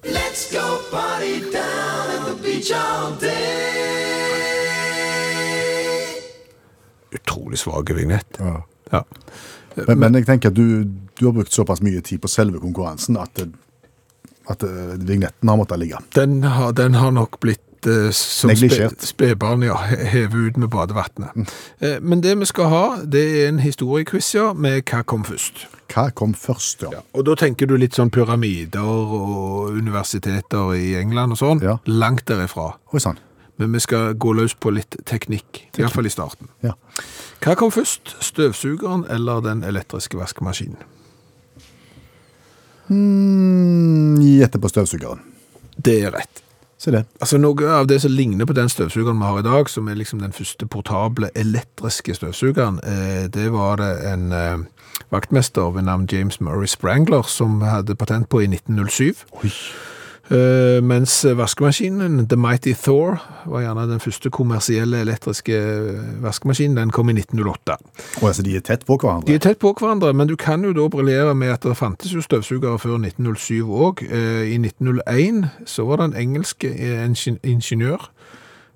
Speaker 7: Let's go party down at the beach all day.
Speaker 2: Utrolig svake vignett.
Speaker 3: Ja.
Speaker 2: Ja.
Speaker 3: Eh, Men, men jeg tenker at du, du har brukt såpass mye tid på selve konkurransen at, eh, at eh, vignetten har måttet ligge.
Speaker 2: Den, har, den har nok blitt eh, som
Speaker 3: Neglisjert. Mm.
Speaker 2: spe- spedbarn, ja, he- hevet ut med badevannet. Eh, Men det vi skal ha, det er en historiequiz, ja, med hva kom først.
Speaker 3: Hva kom først, ja?
Speaker 2: Og da tenker du litt sånn pyramider og universiteter i England og sånn.
Speaker 3: Ja.
Speaker 2: Langt derifra.
Speaker 3: Oi sann.
Speaker 2: Men vi skal gå løs på litt teknikk, i hvert fall i starten.
Speaker 3: Ja.
Speaker 2: Hva kom først, støvsugeren eller den elektriske vaskemaskinen?
Speaker 3: Mm, Gjette på støvsugeren.
Speaker 2: Det er rett.
Speaker 3: Se det.
Speaker 2: Altså Noe av det som ligner på den støvsugeren vi har i dag, som er liksom den første portable elektriske støvsugeren, eh, det var det en eh, vaktmester ved navn James Murray Sprangler som hadde patent på i 1907. Eh, mens vaskemaskinen, The Mighty Thor, var gjerne den første kommersielle elektriske eh, vaskemaskinen. Den kom i 1908.
Speaker 3: Og altså, de er tett på
Speaker 2: De
Speaker 3: hverandre.
Speaker 2: er tett på hverandre, men du kan jo da briljere med at det fantes jo støvsugere før 1907 òg. Eh, I 1901 så var det en engelsk eh, ingen- ingeniør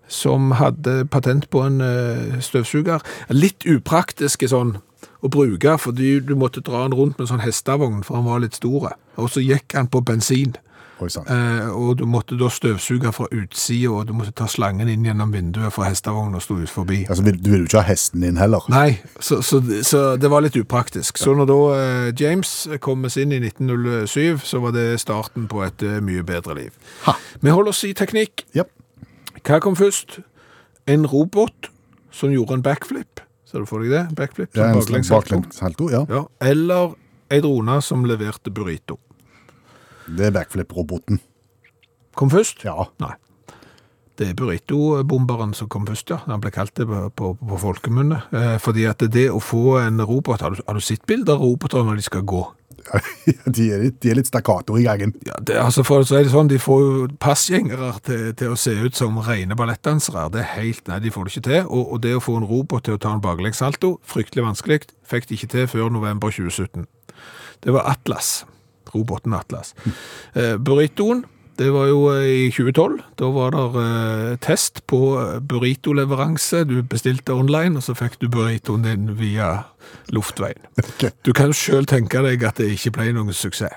Speaker 2: som hadde patent på en eh, støvsuger. Litt upraktisk sånn å bruke, fordi du måtte dra den rundt med en sånn hestevogn, for han var litt stor. Og så gikk han på bensin.
Speaker 3: Oi sann.
Speaker 2: Eh, og du måtte da støvsuge fra utsida, og du måtte ta slangen inn gjennom vinduet fra hestevogna og stå ut forbi.
Speaker 3: Altså, vil- du vil jo ikke ha hesten din heller.
Speaker 2: Nei, så, så, så det var litt upraktisk. Så når da eh, James kom med sin i 1907, så var det starten på et eh, mye bedre liv.
Speaker 3: Ha.
Speaker 2: Vi holder oss i teknikk.
Speaker 3: Ja.
Speaker 2: Hva kom først? En robot som gjorde en backflip. Ser du for deg det? Backflip.
Speaker 3: Det er
Speaker 2: som
Speaker 3: en
Speaker 2: baklengs
Speaker 3: Sånn baklengs
Speaker 2: salto.
Speaker 3: salto. Ja.
Speaker 2: Ja. Eller ei drone som leverte burrito.
Speaker 3: Det er backflip-roboten.
Speaker 2: Kom først?
Speaker 3: Ja.
Speaker 2: Nei. Det er burrito-bomberen som kom først, ja. Han ble kalt det på, på, på folkemunne. Eh, fordi at det å få en robot Har du, har du sett bilder av roboter når de skal gå?
Speaker 3: <laughs> de, er litt, de er litt stakkato i gangen.
Speaker 2: Ja, det, altså for å si det sånn, De får jo passgjengere til, til å se ut som rene ballettdansere. Det er helt, nei, De får det ikke til. Og, og det å få en robot til å ta en baklengssalto, fryktelig vanskelig. Fikk det ikke til før november 2017. Det var Atlas. Roboten Atlas. Eh, burritoen, det var jo eh, i 2012. Da var det eh, test på eh, burritoleveranse. Du bestilte online, og så fikk du burritoen din via luftveien.
Speaker 3: <laughs> Ok.
Speaker 2: Du kan jo sjøl tenke deg at det ikke ble noen suksess.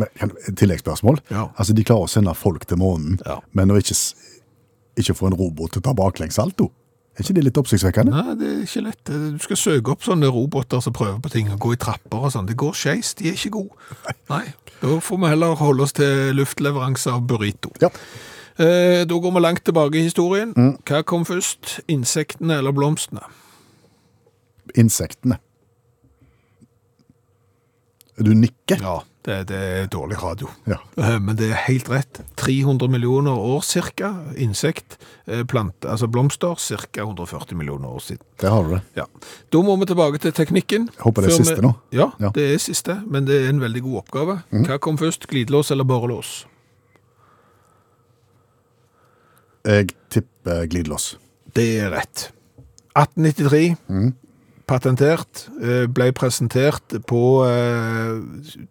Speaker 3: Men, kan, et tilleggsspørsmål.
Speaker 2: Ja.
Speaker 3: Altså, de klarer å sende folk til månen,
Speaker 2: Ja.
Speaker 3: men å ikke, s- ikke få en robot til å ta baklengs salto. Er ikke det litt oppsiktsvekkende?
Speaker 2: Nei, det er ikke lett. Du skal søke opp sånne roboter som prøver på ting, og gå i trapper og sånn. Det går skeis, de er ikke gode. Nei. Da får vi heller holde oss til luftleveranse av burrito.
Speaker 3: Ja.
Speaker 2: Eh, da går vi langt tilbake i historien. Hva kom først, insektene eller blomstene?
Speaker 3: Insektene. Du nikker.
Speaker 2: Ja, det, det er dårlig radio.
Speaker 3: Ja.
Speaker 2: Eh, Men det er helt rett. 300 millioner år cirka, insekt, eh, plant, altså blomster, cirka 140 millioner år siden.
Speaker 3: Der har du det.
Speaker 2: Ja. Da må vi tilbake til teknikken.
Speaker 3: Jeg håper det er
Speaker 2: Før
Speaker 3: siste
Speaker 2: vi...
Speaker 3: nå.
Speaker 2: Ja,
Speaker 3: Ja. Mhm.
Speaker 2: det er siste, men det er en veldig god oppgave. Hva kom først, glidelås eller borrelås?
Speaker 3: Jeg tipper glidelås.
Speaker 2: Det er rett. 1893,
Speaker 3: Mhm.
Speaker 2: patentert, eh, ble presentert på eh,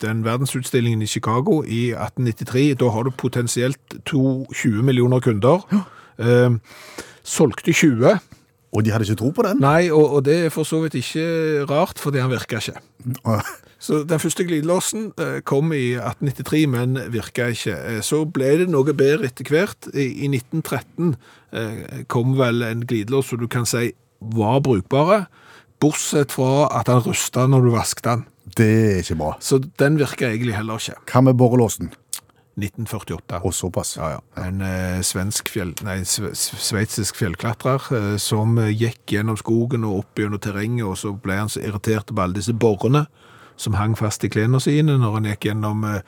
Speaker 2: den verdensutstillingen i Chicago i 1893. Da har du potensielt to, 20 millioner kunder. Eh, Solgte 20.
Speaker 3: Og de hadde ikke tro på den?
Speaker 2: Nei, og, og det er for så vidt ikke rart, fordi han virka ikke. Så den første glidelåsen eh, kom i 1893, men virka ikke. Eh, Så ble det noe bedre etter hvert. I, i 1913 eh, kom vel en glidelås som du kan si var brukbare, bortsett fra at han rusta når du vasket den.
Speaker 3: <laughs> Det er ikke bra.
Speaker 2: Så den virka egentlig heller ikke.
Speaker 3: Hva med borrelåsen?
Speaker 2: 1948.
Speaker 3: Og såpass.
Speaker 2: Ja, ja. En eh, svensk fjell, nei, sve- sveitsisk fjellklatrer eh, som eh, gikk gjennom skogen og opp gjennom terrenget, og så ble han så irritert på alle disse borrene som hang fast i klærne sine når han gikk gjennom eh,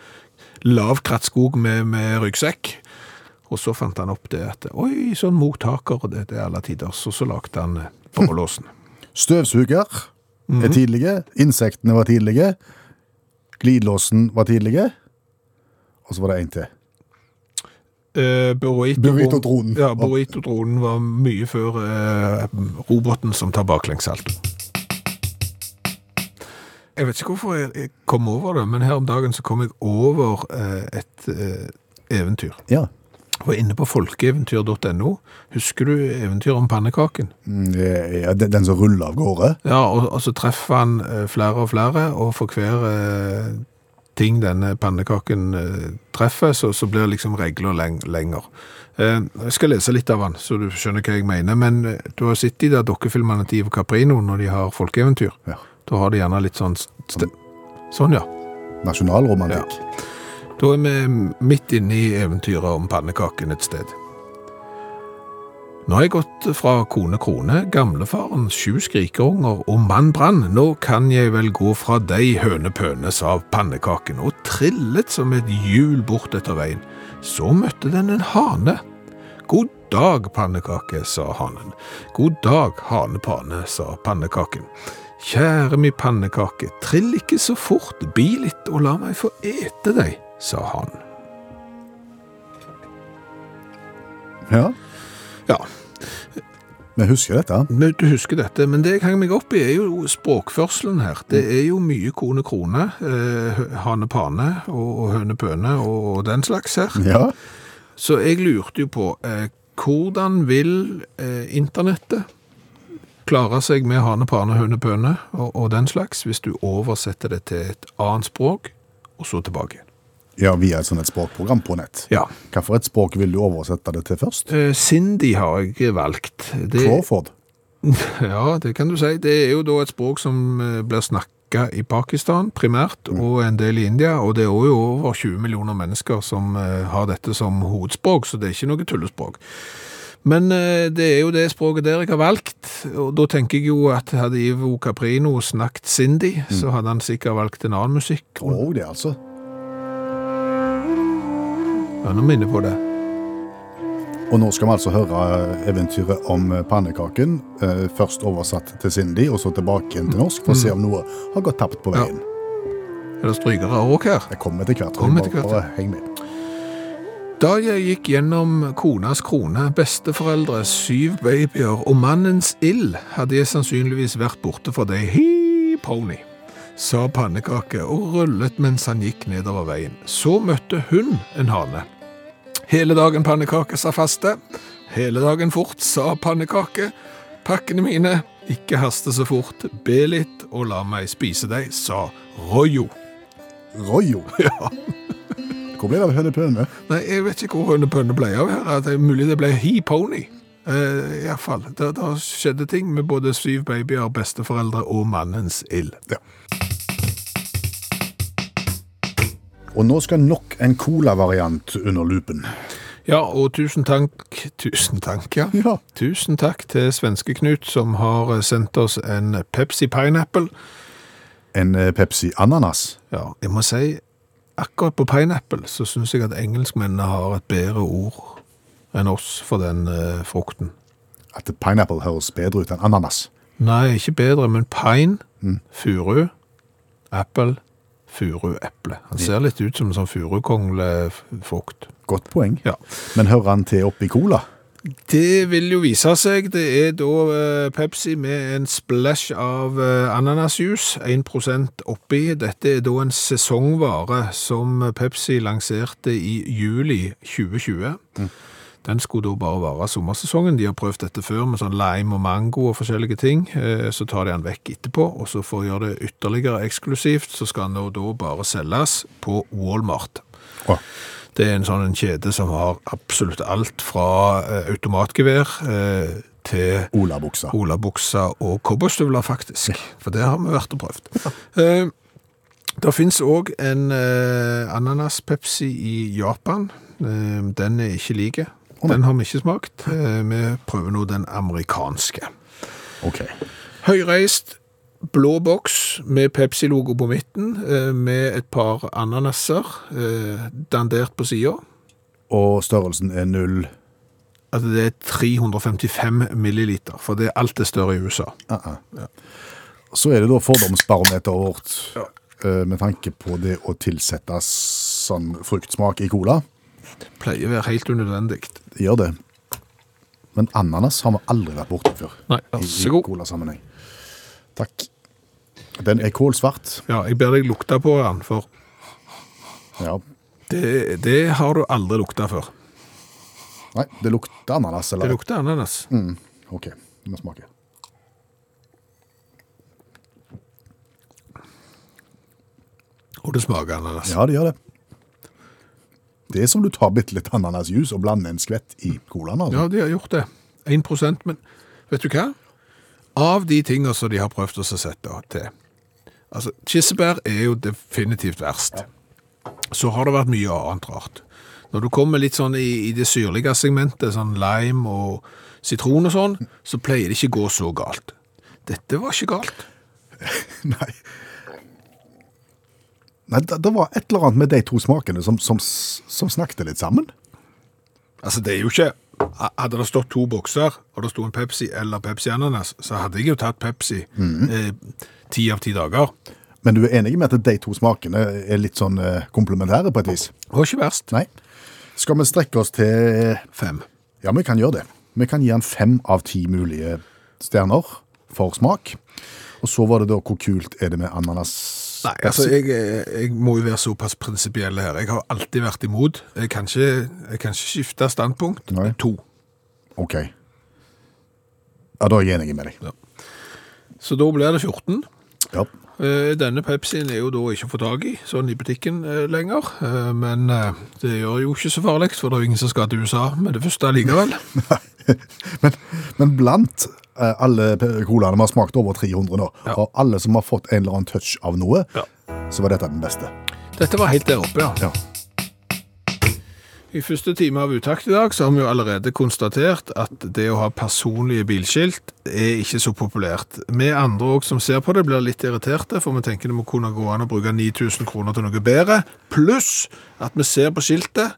Speaker 2: lav krattskog med, med ryggsekk. Og så fant han opp det at oi, sånn mottaker, og det, det er alle tider. Så så lagde han eh, borrelåsen.
Speaker 3: Støvsuger er tidlige. Insektene var tidlige. Glidelåsen var tidlige. Og så var det en til.
Speaker 2: Eh, burrito-
Speaker 3: Burrito-dronen.
Speaker 2: Ja, burrito-dronen var mye før eh, roboten som tar baklengssalto. Jeg vet ikke hvorfor jeg, jeg kom over det, men her om dagen så kom jeg over eh, et eh, eventyr.
Speaker 3: Ja.
Speaker 2: Jeg var inne på folkeeventyr.no. Husker du eventyret om pannekaken?
Speaker 3: Mm, eh, ja den, den som ruller av gårde.
Speaker 2: Ja, og, og så treffer han eh, flere og flere, og for hver eh, ting denne pannekaken eh, treffer, så, så blir liksom regler leng lenger. Eh, jeg skal lese litt av han, så du skjønner hva jeg mener, men eh, du har sett de der dokkefilmene til Ivo Caprino når de har folkeeventyr.
Speaker 3: Ja.
Speaker 2: Da har de gjerne litt sånn... st- Sånn, ja.
Speaker 3: Nasjonalromantikk.
Speaker 2: Da er vi midt inne i eventyret om pannekaken et sted. Nå har jeg gått fra kone Krone, gamlefaren, sju skrikerunger og mann Brann. Nå kan jeg vel gå fra deg, høne pøne, sa pannekaken, og trillet som et hjul bort etter veien. Så møtte den en hane. God dag, pannekake, sa hanen. God dag, hanepane, sa pannekaken. Kjære mi pannekake, trill ikke så fort, bi litt og la meg få ete deg, sa hanen.
Speaker 3: Ja.
Speaker 2: Ja,
Speaker 3: Vi husker dette.
Speaker 2: men du husker dette, men det jeg henger meg opp i er jo språkførselen her. Det er jo mye kone krone, eh, hane pane og, og høne pøne og, og den slags her.
Speaker 3: Ja.
Speaker 2: Så jeg lurte jo på, eh, hvordan vil eh, internettet klare seg med hane, pane, høne, pøne og, og den slags, hvis du oversetter det til et annet språk, og så tilbake?
Speaker 3: ja, via et sånt et språkprogram på nett.
Speaker 2: Ja.
Speaker 3: Hva for et språk vil du oversette det til først?
Speaker 2: Eh, Sindi har jeg valgt. Det,
Speaker 3: Crawford?
Speaker 2: ja, det kan du si. Det er jo da et språk som eh, blir snakket i Pakistan primært, og en del i India, og det er jo over 20 millioner mennesker som eh, har dette som hovedspråk, så det er ikke noe tullespråk. Men eh, det er jo det språket der jeg har valgt, og da tenker jeg jo at hadde Ivo Caprino snakket Sindi, så hadde han sikkert valgt en annen musikk.
Speaker 3: Å, det, altså.
Speaker 2: Ja, nå minner jeg på det.
Speaker 3: Og nå skal vi altså høre eh, eventyret om eh, pannekaken. eh, Først oversatt til Cindy, og så tilbake igjen til norsk, for å se om noe har gått tapt på
Speaker 2: Mm. Ja.
Speaker 3: veien.
Speaker 2: Er det strykere også her?
Speaker 3: Jeg kommer etter hvert.
Speaker 2: Kom
Speaker 3: Bare-
Speaker 2: etter hvert,
Speaker 3: Bare heng med.
Speaker 2: Da jeg gikk gjennom konas krone, besteforeldre, syv babyer og mannens ild, hadde jeg sannsynligvis vært borte for deg, hi, pony, sa pannekake og rullet mens han gikk nedover veien. Så møtte hun en hane. Hele dagen pannekake, sa faste. Hele dagen fort, sa pannekake. Pakkene mine, ikke haste så fort, be litt og la meg spise deg, sa Rojo.
Speaker 3: Royo. <laughs> Hvor ble det av hønepøne?
Speaker 2: Nei, jeg vet ikke hvor hundepønne ble av her. At det er mulig det ble he pony. Eh, Iallfall. Det, det skjedde ting med både syv babyer, besteforeldre og mannens ild.
Speaker 3: Og nå skal nok en colavariant under lupen.
Speaker 2: Ja, og tusen takk Tusen takk, ja.
Speaker 3: Ja.
Speaker 2: Tusen takk til svenske Knut, som har eh, sendt oss en Pepsi Pineapple.
Speaker 3: En eh, Pepsi ananas.
Speaker 2: Ja, jeg må si akkurat på pineapple så syns jeg at engelskmennene har et bedre ord enn oss for den eh, frukten.
Speaker 3: At pineapple høres bedre ut enn ananas.
Speaker 2: Nei, ikke bedre, men pine, furu, apple, furueple. Han ser litt ut som en sånn furukonglefrukt.
Speaker 3: Godt poeng.
Speaker 2: Ja.
Speaker 3: Men hører han til oppi cola?
Speaker 2: Det vil jo vise seg. Det er da eh, Pepsi med en splash av eh, ananasjus, 1 oppi. Dette er da en sesongvare som Pepsi lanserte i juli 2020. Den skulle da bare vare sommersesongen. De har prøvd dette før med sånn lime og mango og forskjellige ting. Eh, Så tar de den vekk etterpå, og så for å gjøre det ytterligere eksklusivt, så skal den nå da bare selges på Walmart.
Speaker 3: Å.
Speaker 2: Det er en sånn en kjede som har absolutt alt fra eh, automatgevær eh, til
Speaker 3: Olabuksa.
Speaker 2: olabukser og cowboystøvler, faktisk. For det har vi vært og prøvd. Eh, det finnes òg en eh, ananas-pepsi i Japan. Eh, den er ikke like. Den har vi ikke smakt. Eh, vi prøver nå den amerikanske.
Speaker 3: Ok.
Speaker 2: Høyreist, blå boks med Pepsi-logo på midten, eh, med et par ananaser eh, dandert på sida.
Speaker 3: Og størrelsen er null.
Speaker 2: Altså det er 355 milliliter, for det er alt det større i USA.
Speaker 3: Så er det da fordomsbarometeret vårt eh, med tanke på det å tilsette sånn fruktsmak i cola.
Speaker 2: Pleier å være helt unødvendig.
Speaker 3: Det gjør det. Men ananas har vi aldri vært borti før.
Speaker 2: Nei,
Speaker 3: I-
Speaker 2: vær så
Speaker 3: I
Speaker 2: god.
Speaker 3: colasammenheng. Takk. Den er kålsvart.
Speaker 2: Ja, jeg ber deg lukte på den, for
Speaker 3: Ja.
Speaker 2: det, det har du aldri lukta før.
Speaker 3: Nei, det lukter ananas. Eller? Mm,
Speaker 2: Det lukter ananas.
Speaker 3: Ok, vi må smake.
Speaker 2: Og det smaker ananas.
Speaker 3: Ja, det gjør det. Det er som du tar bitte litt ananasjuice og blander en skvett i colaen. Altså.
Speaker 2: Ja, de har gjort det. 1 men vet du hva? Av de tingene som de har prøvd å sette til Altså, Kirsebær er jo definitivt verst. Så har det vært mye annet rart. Når du kommer litt sånn i, i det syrlige segmentet, sånn lime og sitron og sånn, så pleier det ikke gå så galt. Dette var ikke galt.
Speaker 3: Nei. Nei, det, det var et eller annet med de to smakene som, som, s- som snakket litt sammen.
Speaker 2: Altså, det er jo ikke Hadde det stått to bokser, og det sto en Pepsi eller Pepsi Ananas, så hadde jeg jo tatt Pepsi eh, ti av ti dager.
Speaker 3: Men du er enig med at de to smakene er litt sånn eh, komplementære på et vis?
Speaker 2: Det var ikke verst.
Speaker 3: Nei. Skal vi strekke oss til
Speaker 2: Fem.
Speaker 3: Ja, vi kan gjøre det. Vi kan gi han fem av ti mulige stjerner for smak. Og så var det da hvor kult er det med ananas?
Speaker 2: Nei, altså, jeg, jeg må jo være såpass prinsipiell her. Jeg har alltid vært imot. Jeg kan ikke, jeg kan ikke skifte standpunkt.
Speaker 3: Nei.
Speaker 2: To.
Speaker 3: Ok. Ja, da er jeg enig med deg.
Speaker 2: Så da blir det 14.
Speaker 3: Ja.
Speaker 2: Eh, Denne Pepsien er jo da ikke å få tak i, sånn i butikken eh, lenger. Eh, Men eh, det gjør jo ikke så farlig, for det er jo ingen som skal til USA med det første likevel.
Speaker 3: Men, men blant eh, alle pe- colaene vi har smakt over 300 nå,
Speaker 2: Ja.
Speaker 3: og alle som har fått en eller annen touch av noe,
Speaker 2: Ja.
Speaker 3: så var dette den beste.
Speaker 2: Dette var helt der oppe, ja.
Speaker 3: Ja.
Speaker 2: I første time av utakt i dag så har vi jo allerede konstatert at det å ha personlige bilskilt er ikke så populært. Vi andre òg som ser på det, blir litt irriterte, for vi tenker det må kunne gå an å bruke 9000 kroner til noe bedre. Pluss at vi ser på skiltet,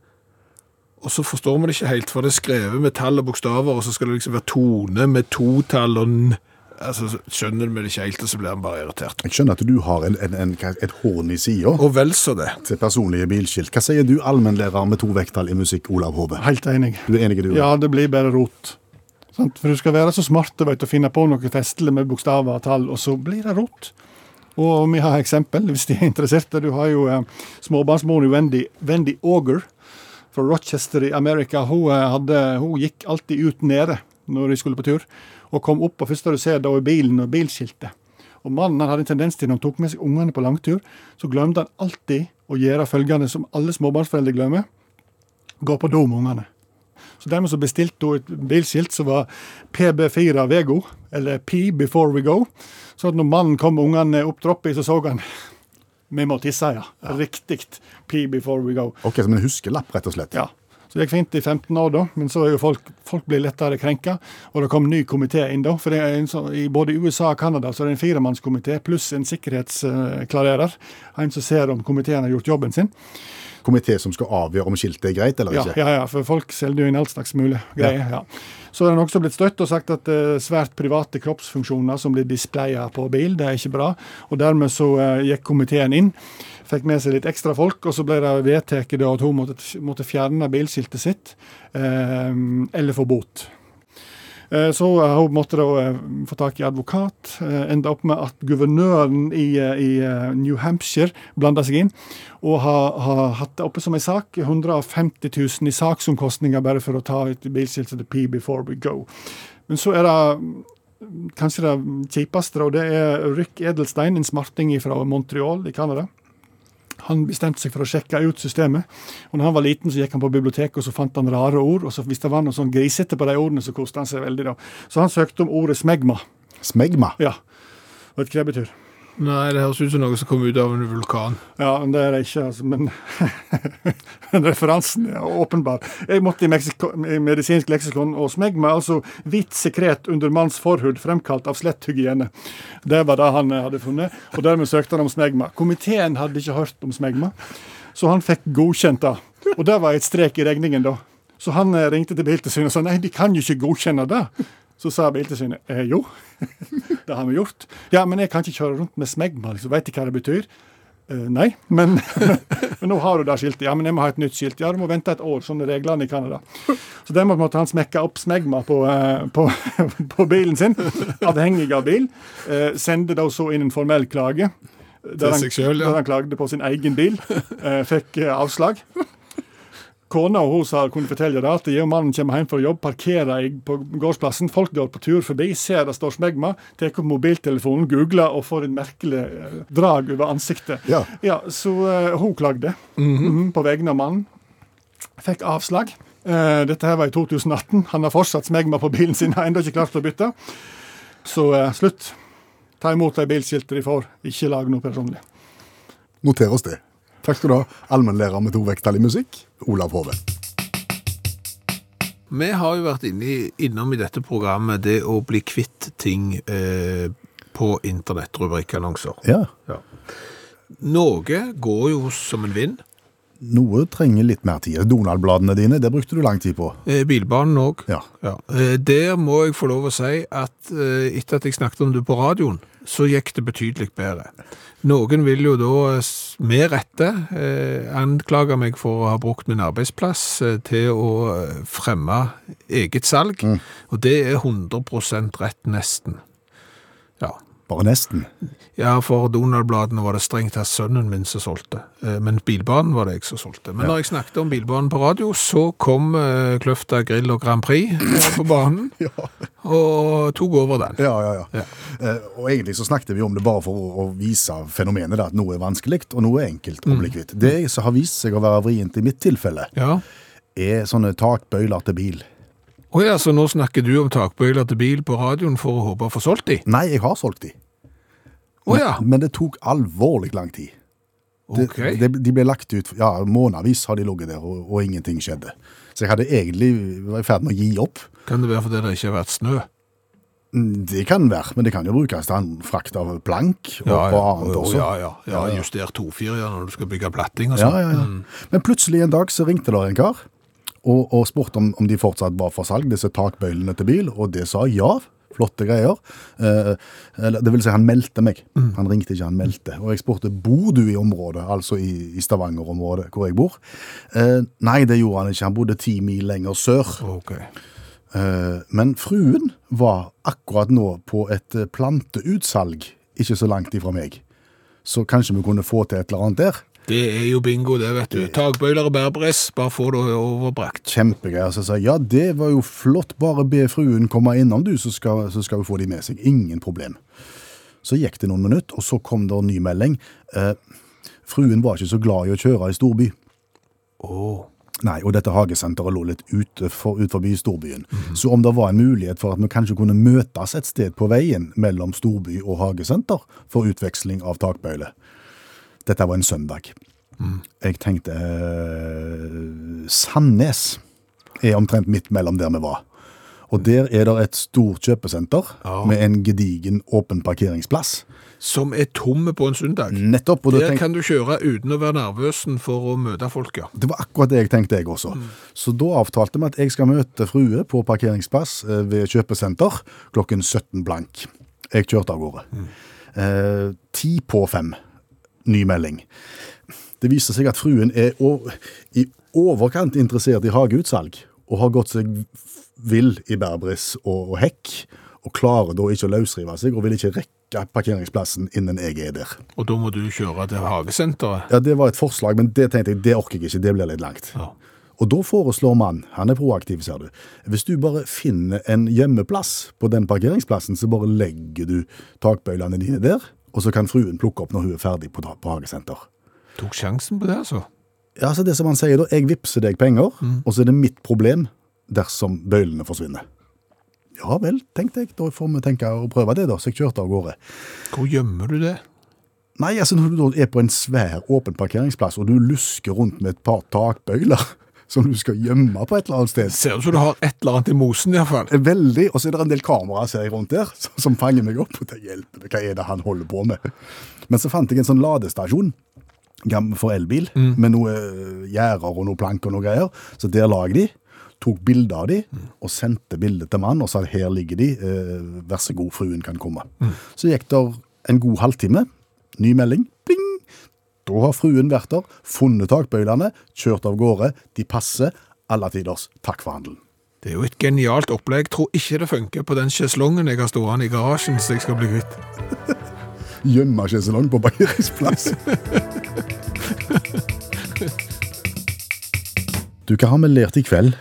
Speaker 2: og så forstår vi det ikke helt, for det er skrevet med tall og bokstaver, og så skal det liksom være tone med totall og n. Altså, så skjønner vi det ikke helt, og så blir vi bare irritert.
Speaker 3: Jeg skjønner at du har en, en, en, et horn i sida
Speaker 2: Og vel så det.
Speaker 3: til personlige bilskilt. Hva sier du, allmennlærer med to vekttall i musikk, Olav Hove?
Speaker 5: Helt enig.
Speaker 3: Du er enig, du?
Speaker 5: Ja, det blir bare rot. Sant? For du skal være så smart du vet, å finne på noe festlig med bokstaver og tall, og så blir det rot. Og vi har eksempel, hvis de er interesserte. Du har jo eh, småbarnsmoren Wendy, Wendy Auger fra Rochester i Amerika. Hun, eh, hadde, hun gikk alltid ut nede når de skulle på tur, og kom opp, og første du ser, da er bilen og bilskiltet. Og mannen han hadde en tendens til, når han tok med seg ungene på langtur, så glemte han alltid å gjøre følgende som alle småbarnsforeldre glemmer. Gå på do med ungene. Så dermed så bestilte hun et bilskilt som var PB4 Vego, eller P Before We Go. Så at når mannen kom med ungene opp trappa, så så han Vi må tisse, ja. Riktig. P Before We Go.
Speaker 3: Ok, som en huskelapp, rett og slett.
Speaker 5: Ja. Så det gikk fint i 15 år, da, men så er jo folk, folk blir lettere krenka. Og det kom ny komité inn, da. For det er en sånn, i både USA og Canada så er det en firemannskomité pluss en sikkerhetsklarerer. En som ser om komiteen har gjort jobben sin.
Speaker 3: Komité som skal avgjøre om skiltet er greit eller
Speaker 5: Ja,
Speaker 3: ikke.
Speaker 5: ja, ja, for folk selger jo inn all slags mulig greier. Ja. Så er den også blitt støtt og sagt at eh, svært private kroppsfunksjoner som blir displayet på bil, det er ikke bra. Og dermed så eh, gikk komiteen inn Fikk med seg litt ekstra folk, og så ble det vedtatt da at hun måtte, måtte fjerne bilskiltet sitt, eh, eller få bot. Eh, Så eh, hun måtte da eh, få tak i advokat. eh, Enda opp med at guvernøren i, eh, i eh, New Hampshire blanda seg inn, og har har hatt det oppe som ei sak. 150 000 i saksomkostninger bare for å ta et bilskilt som heter P before we go. Men så er det mm, kanskje det kjipeste, og det er Rick Edelstein, en smarting fra Montreal i Canada. Han bestemte seg for å sjekke ut systemet. Og når han var liten, så gikk han på biblioteket og så fant han rare ord. og så Hvis det var noe sånn grisete på de ordene, så koste han seg veldig. da. Så han søkte om ordet smegma.
Speaker 3: Smegma.
Speaker 5: Ja, Vet du hva det betyr?
Speaker 2: Nei, det høres ut som noe som kom ut av en vulkan.
Speaker 5: Ja, men det er det ikke, altså. Men <laughs> men referansen er åpenbar. Jeg måtte i, Meksiko, i medisinsk leksikon og smegma, altså hvitt sekret under manns forhud fremkalt av slett hygiene. Det var det han eh, hadde funnet, og dermed søkte han om smegma. Komiteen hadde ikke hørt om smegma, så han fikk godkjent det. Og det var et strek i regningen, da. Så han eh, ringte til Biltilsynet og sa nei, de kan jo ikke godkjenne det. Så sa Biltilsynet eh, jo, det har vi gjort. Ja, men jeg kan ikke kjøre rundt med smegma, liksom. Veit de hva det betyr? Eh, nei, men, <laughs> men nå har du det skiltet. Ja, men jeg må ha et nytt skilt. Ja, du må vente et år. Sånn er reglene i Canada. Så dermed måtte han smekke opp smegma på, eh, på, <laughs> på bilen sin, avhengig av bil. Eh, sende da så inn en formell klage. Der han,
Speaker 2: seg selv, ja.
Speaker 5: der han klagde på sin egen bil. Eh, fikk eh, avslag. Kona og hun sa, kunne fortelle det at jeg og mannen kommer hjem fra jobb, parkerer jeg på gårdsplassen. Folk går på tur forbi, ser det står smegma, tar opp mobiltelefonen, googler og får et merkelig eh, drag over ansiktet.
Speaker 3: Ja.
Speaker 5: Så eh, hun klagde Mhm, på vegne av mannen. Fikk avslag. Eh, dette her var i 2018. Han har fortsatt smegma på bilen sin, har ennå ikke klart å bytte. Så eh, slutt. Ta imot de bilskiltene de får, ikke lag noe personlig.
Speaker 3: Noter oss det. Takk skal du ha, allmennlærer med to vekttall i musikk, Olav Hove.
Speaker 2: Vi har jo vært inne, i- innom i dette programmet det å bli kvitt ting eh, på internettrubrikkannonser.
Speaker 3: Ja.
Speaker 2: Ja. Noe går jo som en vind.
Speaker 3: Noe trenger litt mer tid. Donald-bladene dine, det brukte du lang tid på.
Speaker 2: Eh, Bilbanen òg.
Speaker 3: Ja.
Speaker 2: Eh, Der må jeg få lov å si at eh, etter at jeg snakket om det på radioen, så gikk det betydelig bedre. Noen vil jo da, eh, s- med rette, eh, anklage meg for å ha brukt min arbeidsplass eh, til å eh, fremme eget salg, og det er 100 rett, nesten. Ja.
Speaker 3: Bare nesten.
Speaker 2: Ja, for Donald-bladene var det strengt tatt sønnen min som solgte. Eh, Men bilbanen var det jeg som solgte. Men når jeg snakket om bilbanen på radio, så kom eh, Kløfta Grill og Grand Prix eh,
Speaker 3: <laughs>
Speaker 2: på banen
Speaker 3: Ja,
Speaker 2: og tok over den.
Speaker 3: ja, ja. ja. Eh, og egentlig så snakket vi om det bare for å, å vise fenomenet, da, at noe er vanskelig og noe er enkelt å bli kvitt. Det som har vist seg å være vrient i mitt tilfelle,
Speaker 2: Ja.
Speaker 3: er sånne takbøyler til bil.
Speaker 2: Å ja, så nå snakker du om takbøyler til bil på radioen for å håpe å få solgt de?
Speaker 3: Nei, jeg har solgt de,
Speaker 2: Å ja,
Speaker 3: men det tok alvorlig lang tid. Det,
Speaker 2: ok.
Speaker 3: det, de ble lagt ut, ja, månedvis har de ligget der, og, og ingenting skjedde. Så jeg hadde egentlig var i ferd med å gi opp.
Speaker 2: Kan det være fordi det ikke har vært snø?
Speaker 3: Mm, Det kan være, men det kan jo brukes til an- frakt av plank og, og annet
Speaker 2: Å,
Speaker 3: også.
Speaker 2: ja, ja. ja justert 2-4 ja, når du skal bygge platting og
Speaker 3: Ja,
Speaker 2: sånn.
Speaker 3: ja, ja. Men plutselig en dag så ringte der en kar og, og spurte om, om de fortsatt var for salg, disse takbøylene til bil, og det sa ja. Flotte greier. Eh, eller, det vil si, han meldte meg. Han ringte ikke, han meldte. Og jeg spurte bor du i området, altså i, i Stavanger-området hvor jeg bor. Eh, nei, det gjorde han ikke. Han bodde ti mil lenger sør.
Speaker 2: Ok.
Speaker 3: Eh, men fruen var akkurat nå på et eh, planteutsalg ikke så langt ifra meg. Så kanskje vi kunne få til et eller annet der.
Speaker 2: Det er jo bingo, det vet du. Takbøyler og bærbress, bare få det overbrakt.
Speaker 3: Kjempegreier. Så jeg sa ja, det var jo flott, bare be fruen komme innom, du, så skal, så skal hun få de med seg. Ingen problem. Så gikk det noen minutter, og så kom det en ny melding. Eh, fruen var ikke så glad i å kjøre i storby. Nei, og dette hagesenteret lå litt ute for, ut forbi storbyen. Så om det var en mulighet for at vi kanskje kunne møtes et sted på veien mellom storby og hagesenter for utveksling av takbøyle. Dette var en søndag. Jeg tenkte eh, Sandnes er omtrent midt mellom der vi var. Og der er det et stort kjøpesenter med en gedigen åpen parkeringsplass.
Speaker 2: Som er tomme på en søndag.
Speaker 3: Nettopp. Mm. Og da
Speaker 2: Der
Speaker 3: tenkte-
Speaker 2: kan du kjøre uten å være nervøsen for å møte folk, ja.
Speaker 3: Det var akkurat det jeg tenkte, jeg også. Så da avtalte vi at jeg skal møte frue på parkeringsplass eh, ved kjøpesenter klokken 17 blank. Jeg kjørte av gårde. Eh, Ti på fem. Ny melding. Det viste seg at fruen er o- i overkant interessert i hageutsalg, og har gått seg vill i bærbris og, og hekk, og klarer da ikke å løsrive seg, og vil ikke rekke parkeringsplassen innen jeg er der.
Speaker 2: Og da må du kjøre til hagesenteret.
Speaker 3: Ja, Det var et forslag, men det tenkte jeg, det orker jeg ikke, det blir litt langt.
Speaker 2: Ja.
Speaker 3: Og da foreslår man, han er proaktiv, ser du, hvis du bare finner en gjemmeplass på den parkeringsplassen, så bare legger du takbøylene dine der, og så kan fruen plukke opp når hun er ferdig på, ta- på hagesenter.
Speaker 2: Tok sjansen på det, altså.
Speaker 3: Ja, så det som han sier da, jeg vipser deg penger, og så er det mitt problem dersom bøylene forsvinner. Ja vel, tenkte jeg, da får vi tenke og prøve det da, så jeg kjørte av gårde.
Speaker 2: Hvor gjemmer du det?
Speaker 3: Nei, altså når du da er på en svær åpen parkeringsplass, og du lusker rundt med et par takbøyler, <laughs> som du skal gjemme på et eller annet sted,
Speaker 2: Ser ut som du har et eller annet i mosen, iallfall.
Speaker 3: Veldig. Og så er det en del kameraer ser jeg rundt der, som, som fanger meg opp. og tenker, hjelper meg, Hva er det han holder på med? Men så fant jeg en sånn ladestasjon gam- for elbil, med noe eh, gjerder og noe plank og noe greier. Så der la jeg de, tok bilder av de, og sendte bildet til mannen og sa her ligger de, eh, vær så god, fruen kan komme. Så gikk der en god halvtime, ny melding, bling! Da har fruen vært der, funnet takbøylene, kjørt av gårde, de passer, alle tiders, takk for handelen.
Speaker 2: Det er jo et genialt opplegg. Jeg tror ikke det funker på den sjeslongen jeg har stående i garasjen så jeg skal bli kvitt.
Speaker 3: gjemme sjeselong på parkeringsplass. du, hva har vi lært i kveld?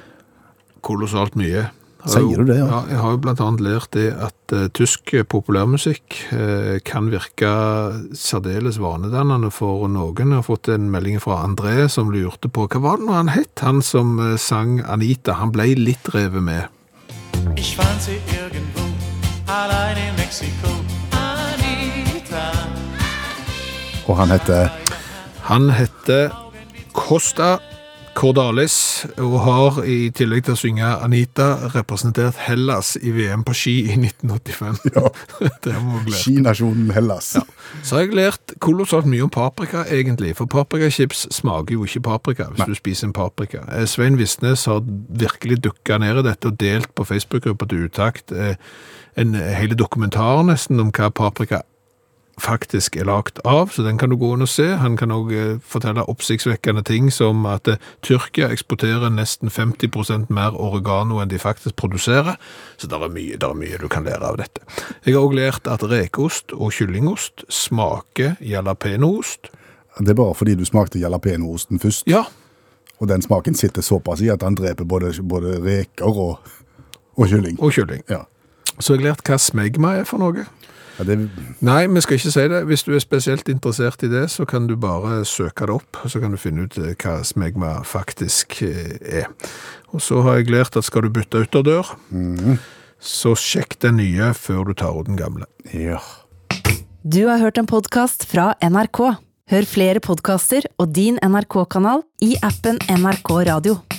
Speaker 2: Kolossalt mye. Jeg har
Speaker 3: Sier
Speaker 2: jo-
Speaker 3: du det, ja?
Speaker 2: ja? Jeg har jo blant annet lært det at eh, tysk populærmusikk eh, kan virke særdeles vanedannende for noen. Jeg har fått en melding fra André som lurte på hva var det nå han het, han som eh, sang Anita. Han ble litt revet med.
Speaker 7: Ich fand sie irgendwo, allein in Mexiko. Anita.
Speaker 3: Og han heter
Speaker 2: Han heter Costa Cordalis og har i tillegg til å synge Anita representert Hellas i VM på ski i 1985. <laughs> det må vi glede.
Speaker 3: Skinasjonen Hellas.
Speaker 2: Så har jeg lært kolossalt mye om paprika, egentlig. For paprikachips smaker jo ikke paprika hvis du spiser en paprika. Eh, Svein Visnes har virkelig dukka ned i dette og delt på Facebook-gruppa til Utakt eh, en hele dokumentar nesten om hva paprika faktisk er lagt av, så den kan du gå inn og se. Han kan òg fortelle oppsiktsvekkende ting som at eh, Tyrkia eksporterer nesten 50 mer oregano enn de faktisk produserer, så det er mye, der er mye du kan lære av dette. Jeg har òg lært at rekeost og kyllingost smaker jalapenoost.
Speaker 3: Det er bare fordi du smakte jalapeño-osten først,
Speaker 2: Ja,
Speaker 3: og den smaken sitter såpass i at han dreper både, både reker og, og kylling.
Speaker 2: og kylling.
Speaker 3: Ja.
Speaker 2: Så har jeg lært hva smegma er for noe.
Speaker 3: Ja, det,
Speaker 2: Nei, vi skal ikke si det. Hvis du er spesielt interessert i det, så kan du bare søke det opp, så kan du finne ut eh, hva smegma faktisk eh, er. Og så har jeg lært at skal du bytte ytterdør, så sjekk den nye før du tar ut den gamle.
Speaker 3: ja.
Speaker 1: Du har hørt en podkast fra NRK. Hør flere podkaster og din NRK-kanal i appen NRK Radio.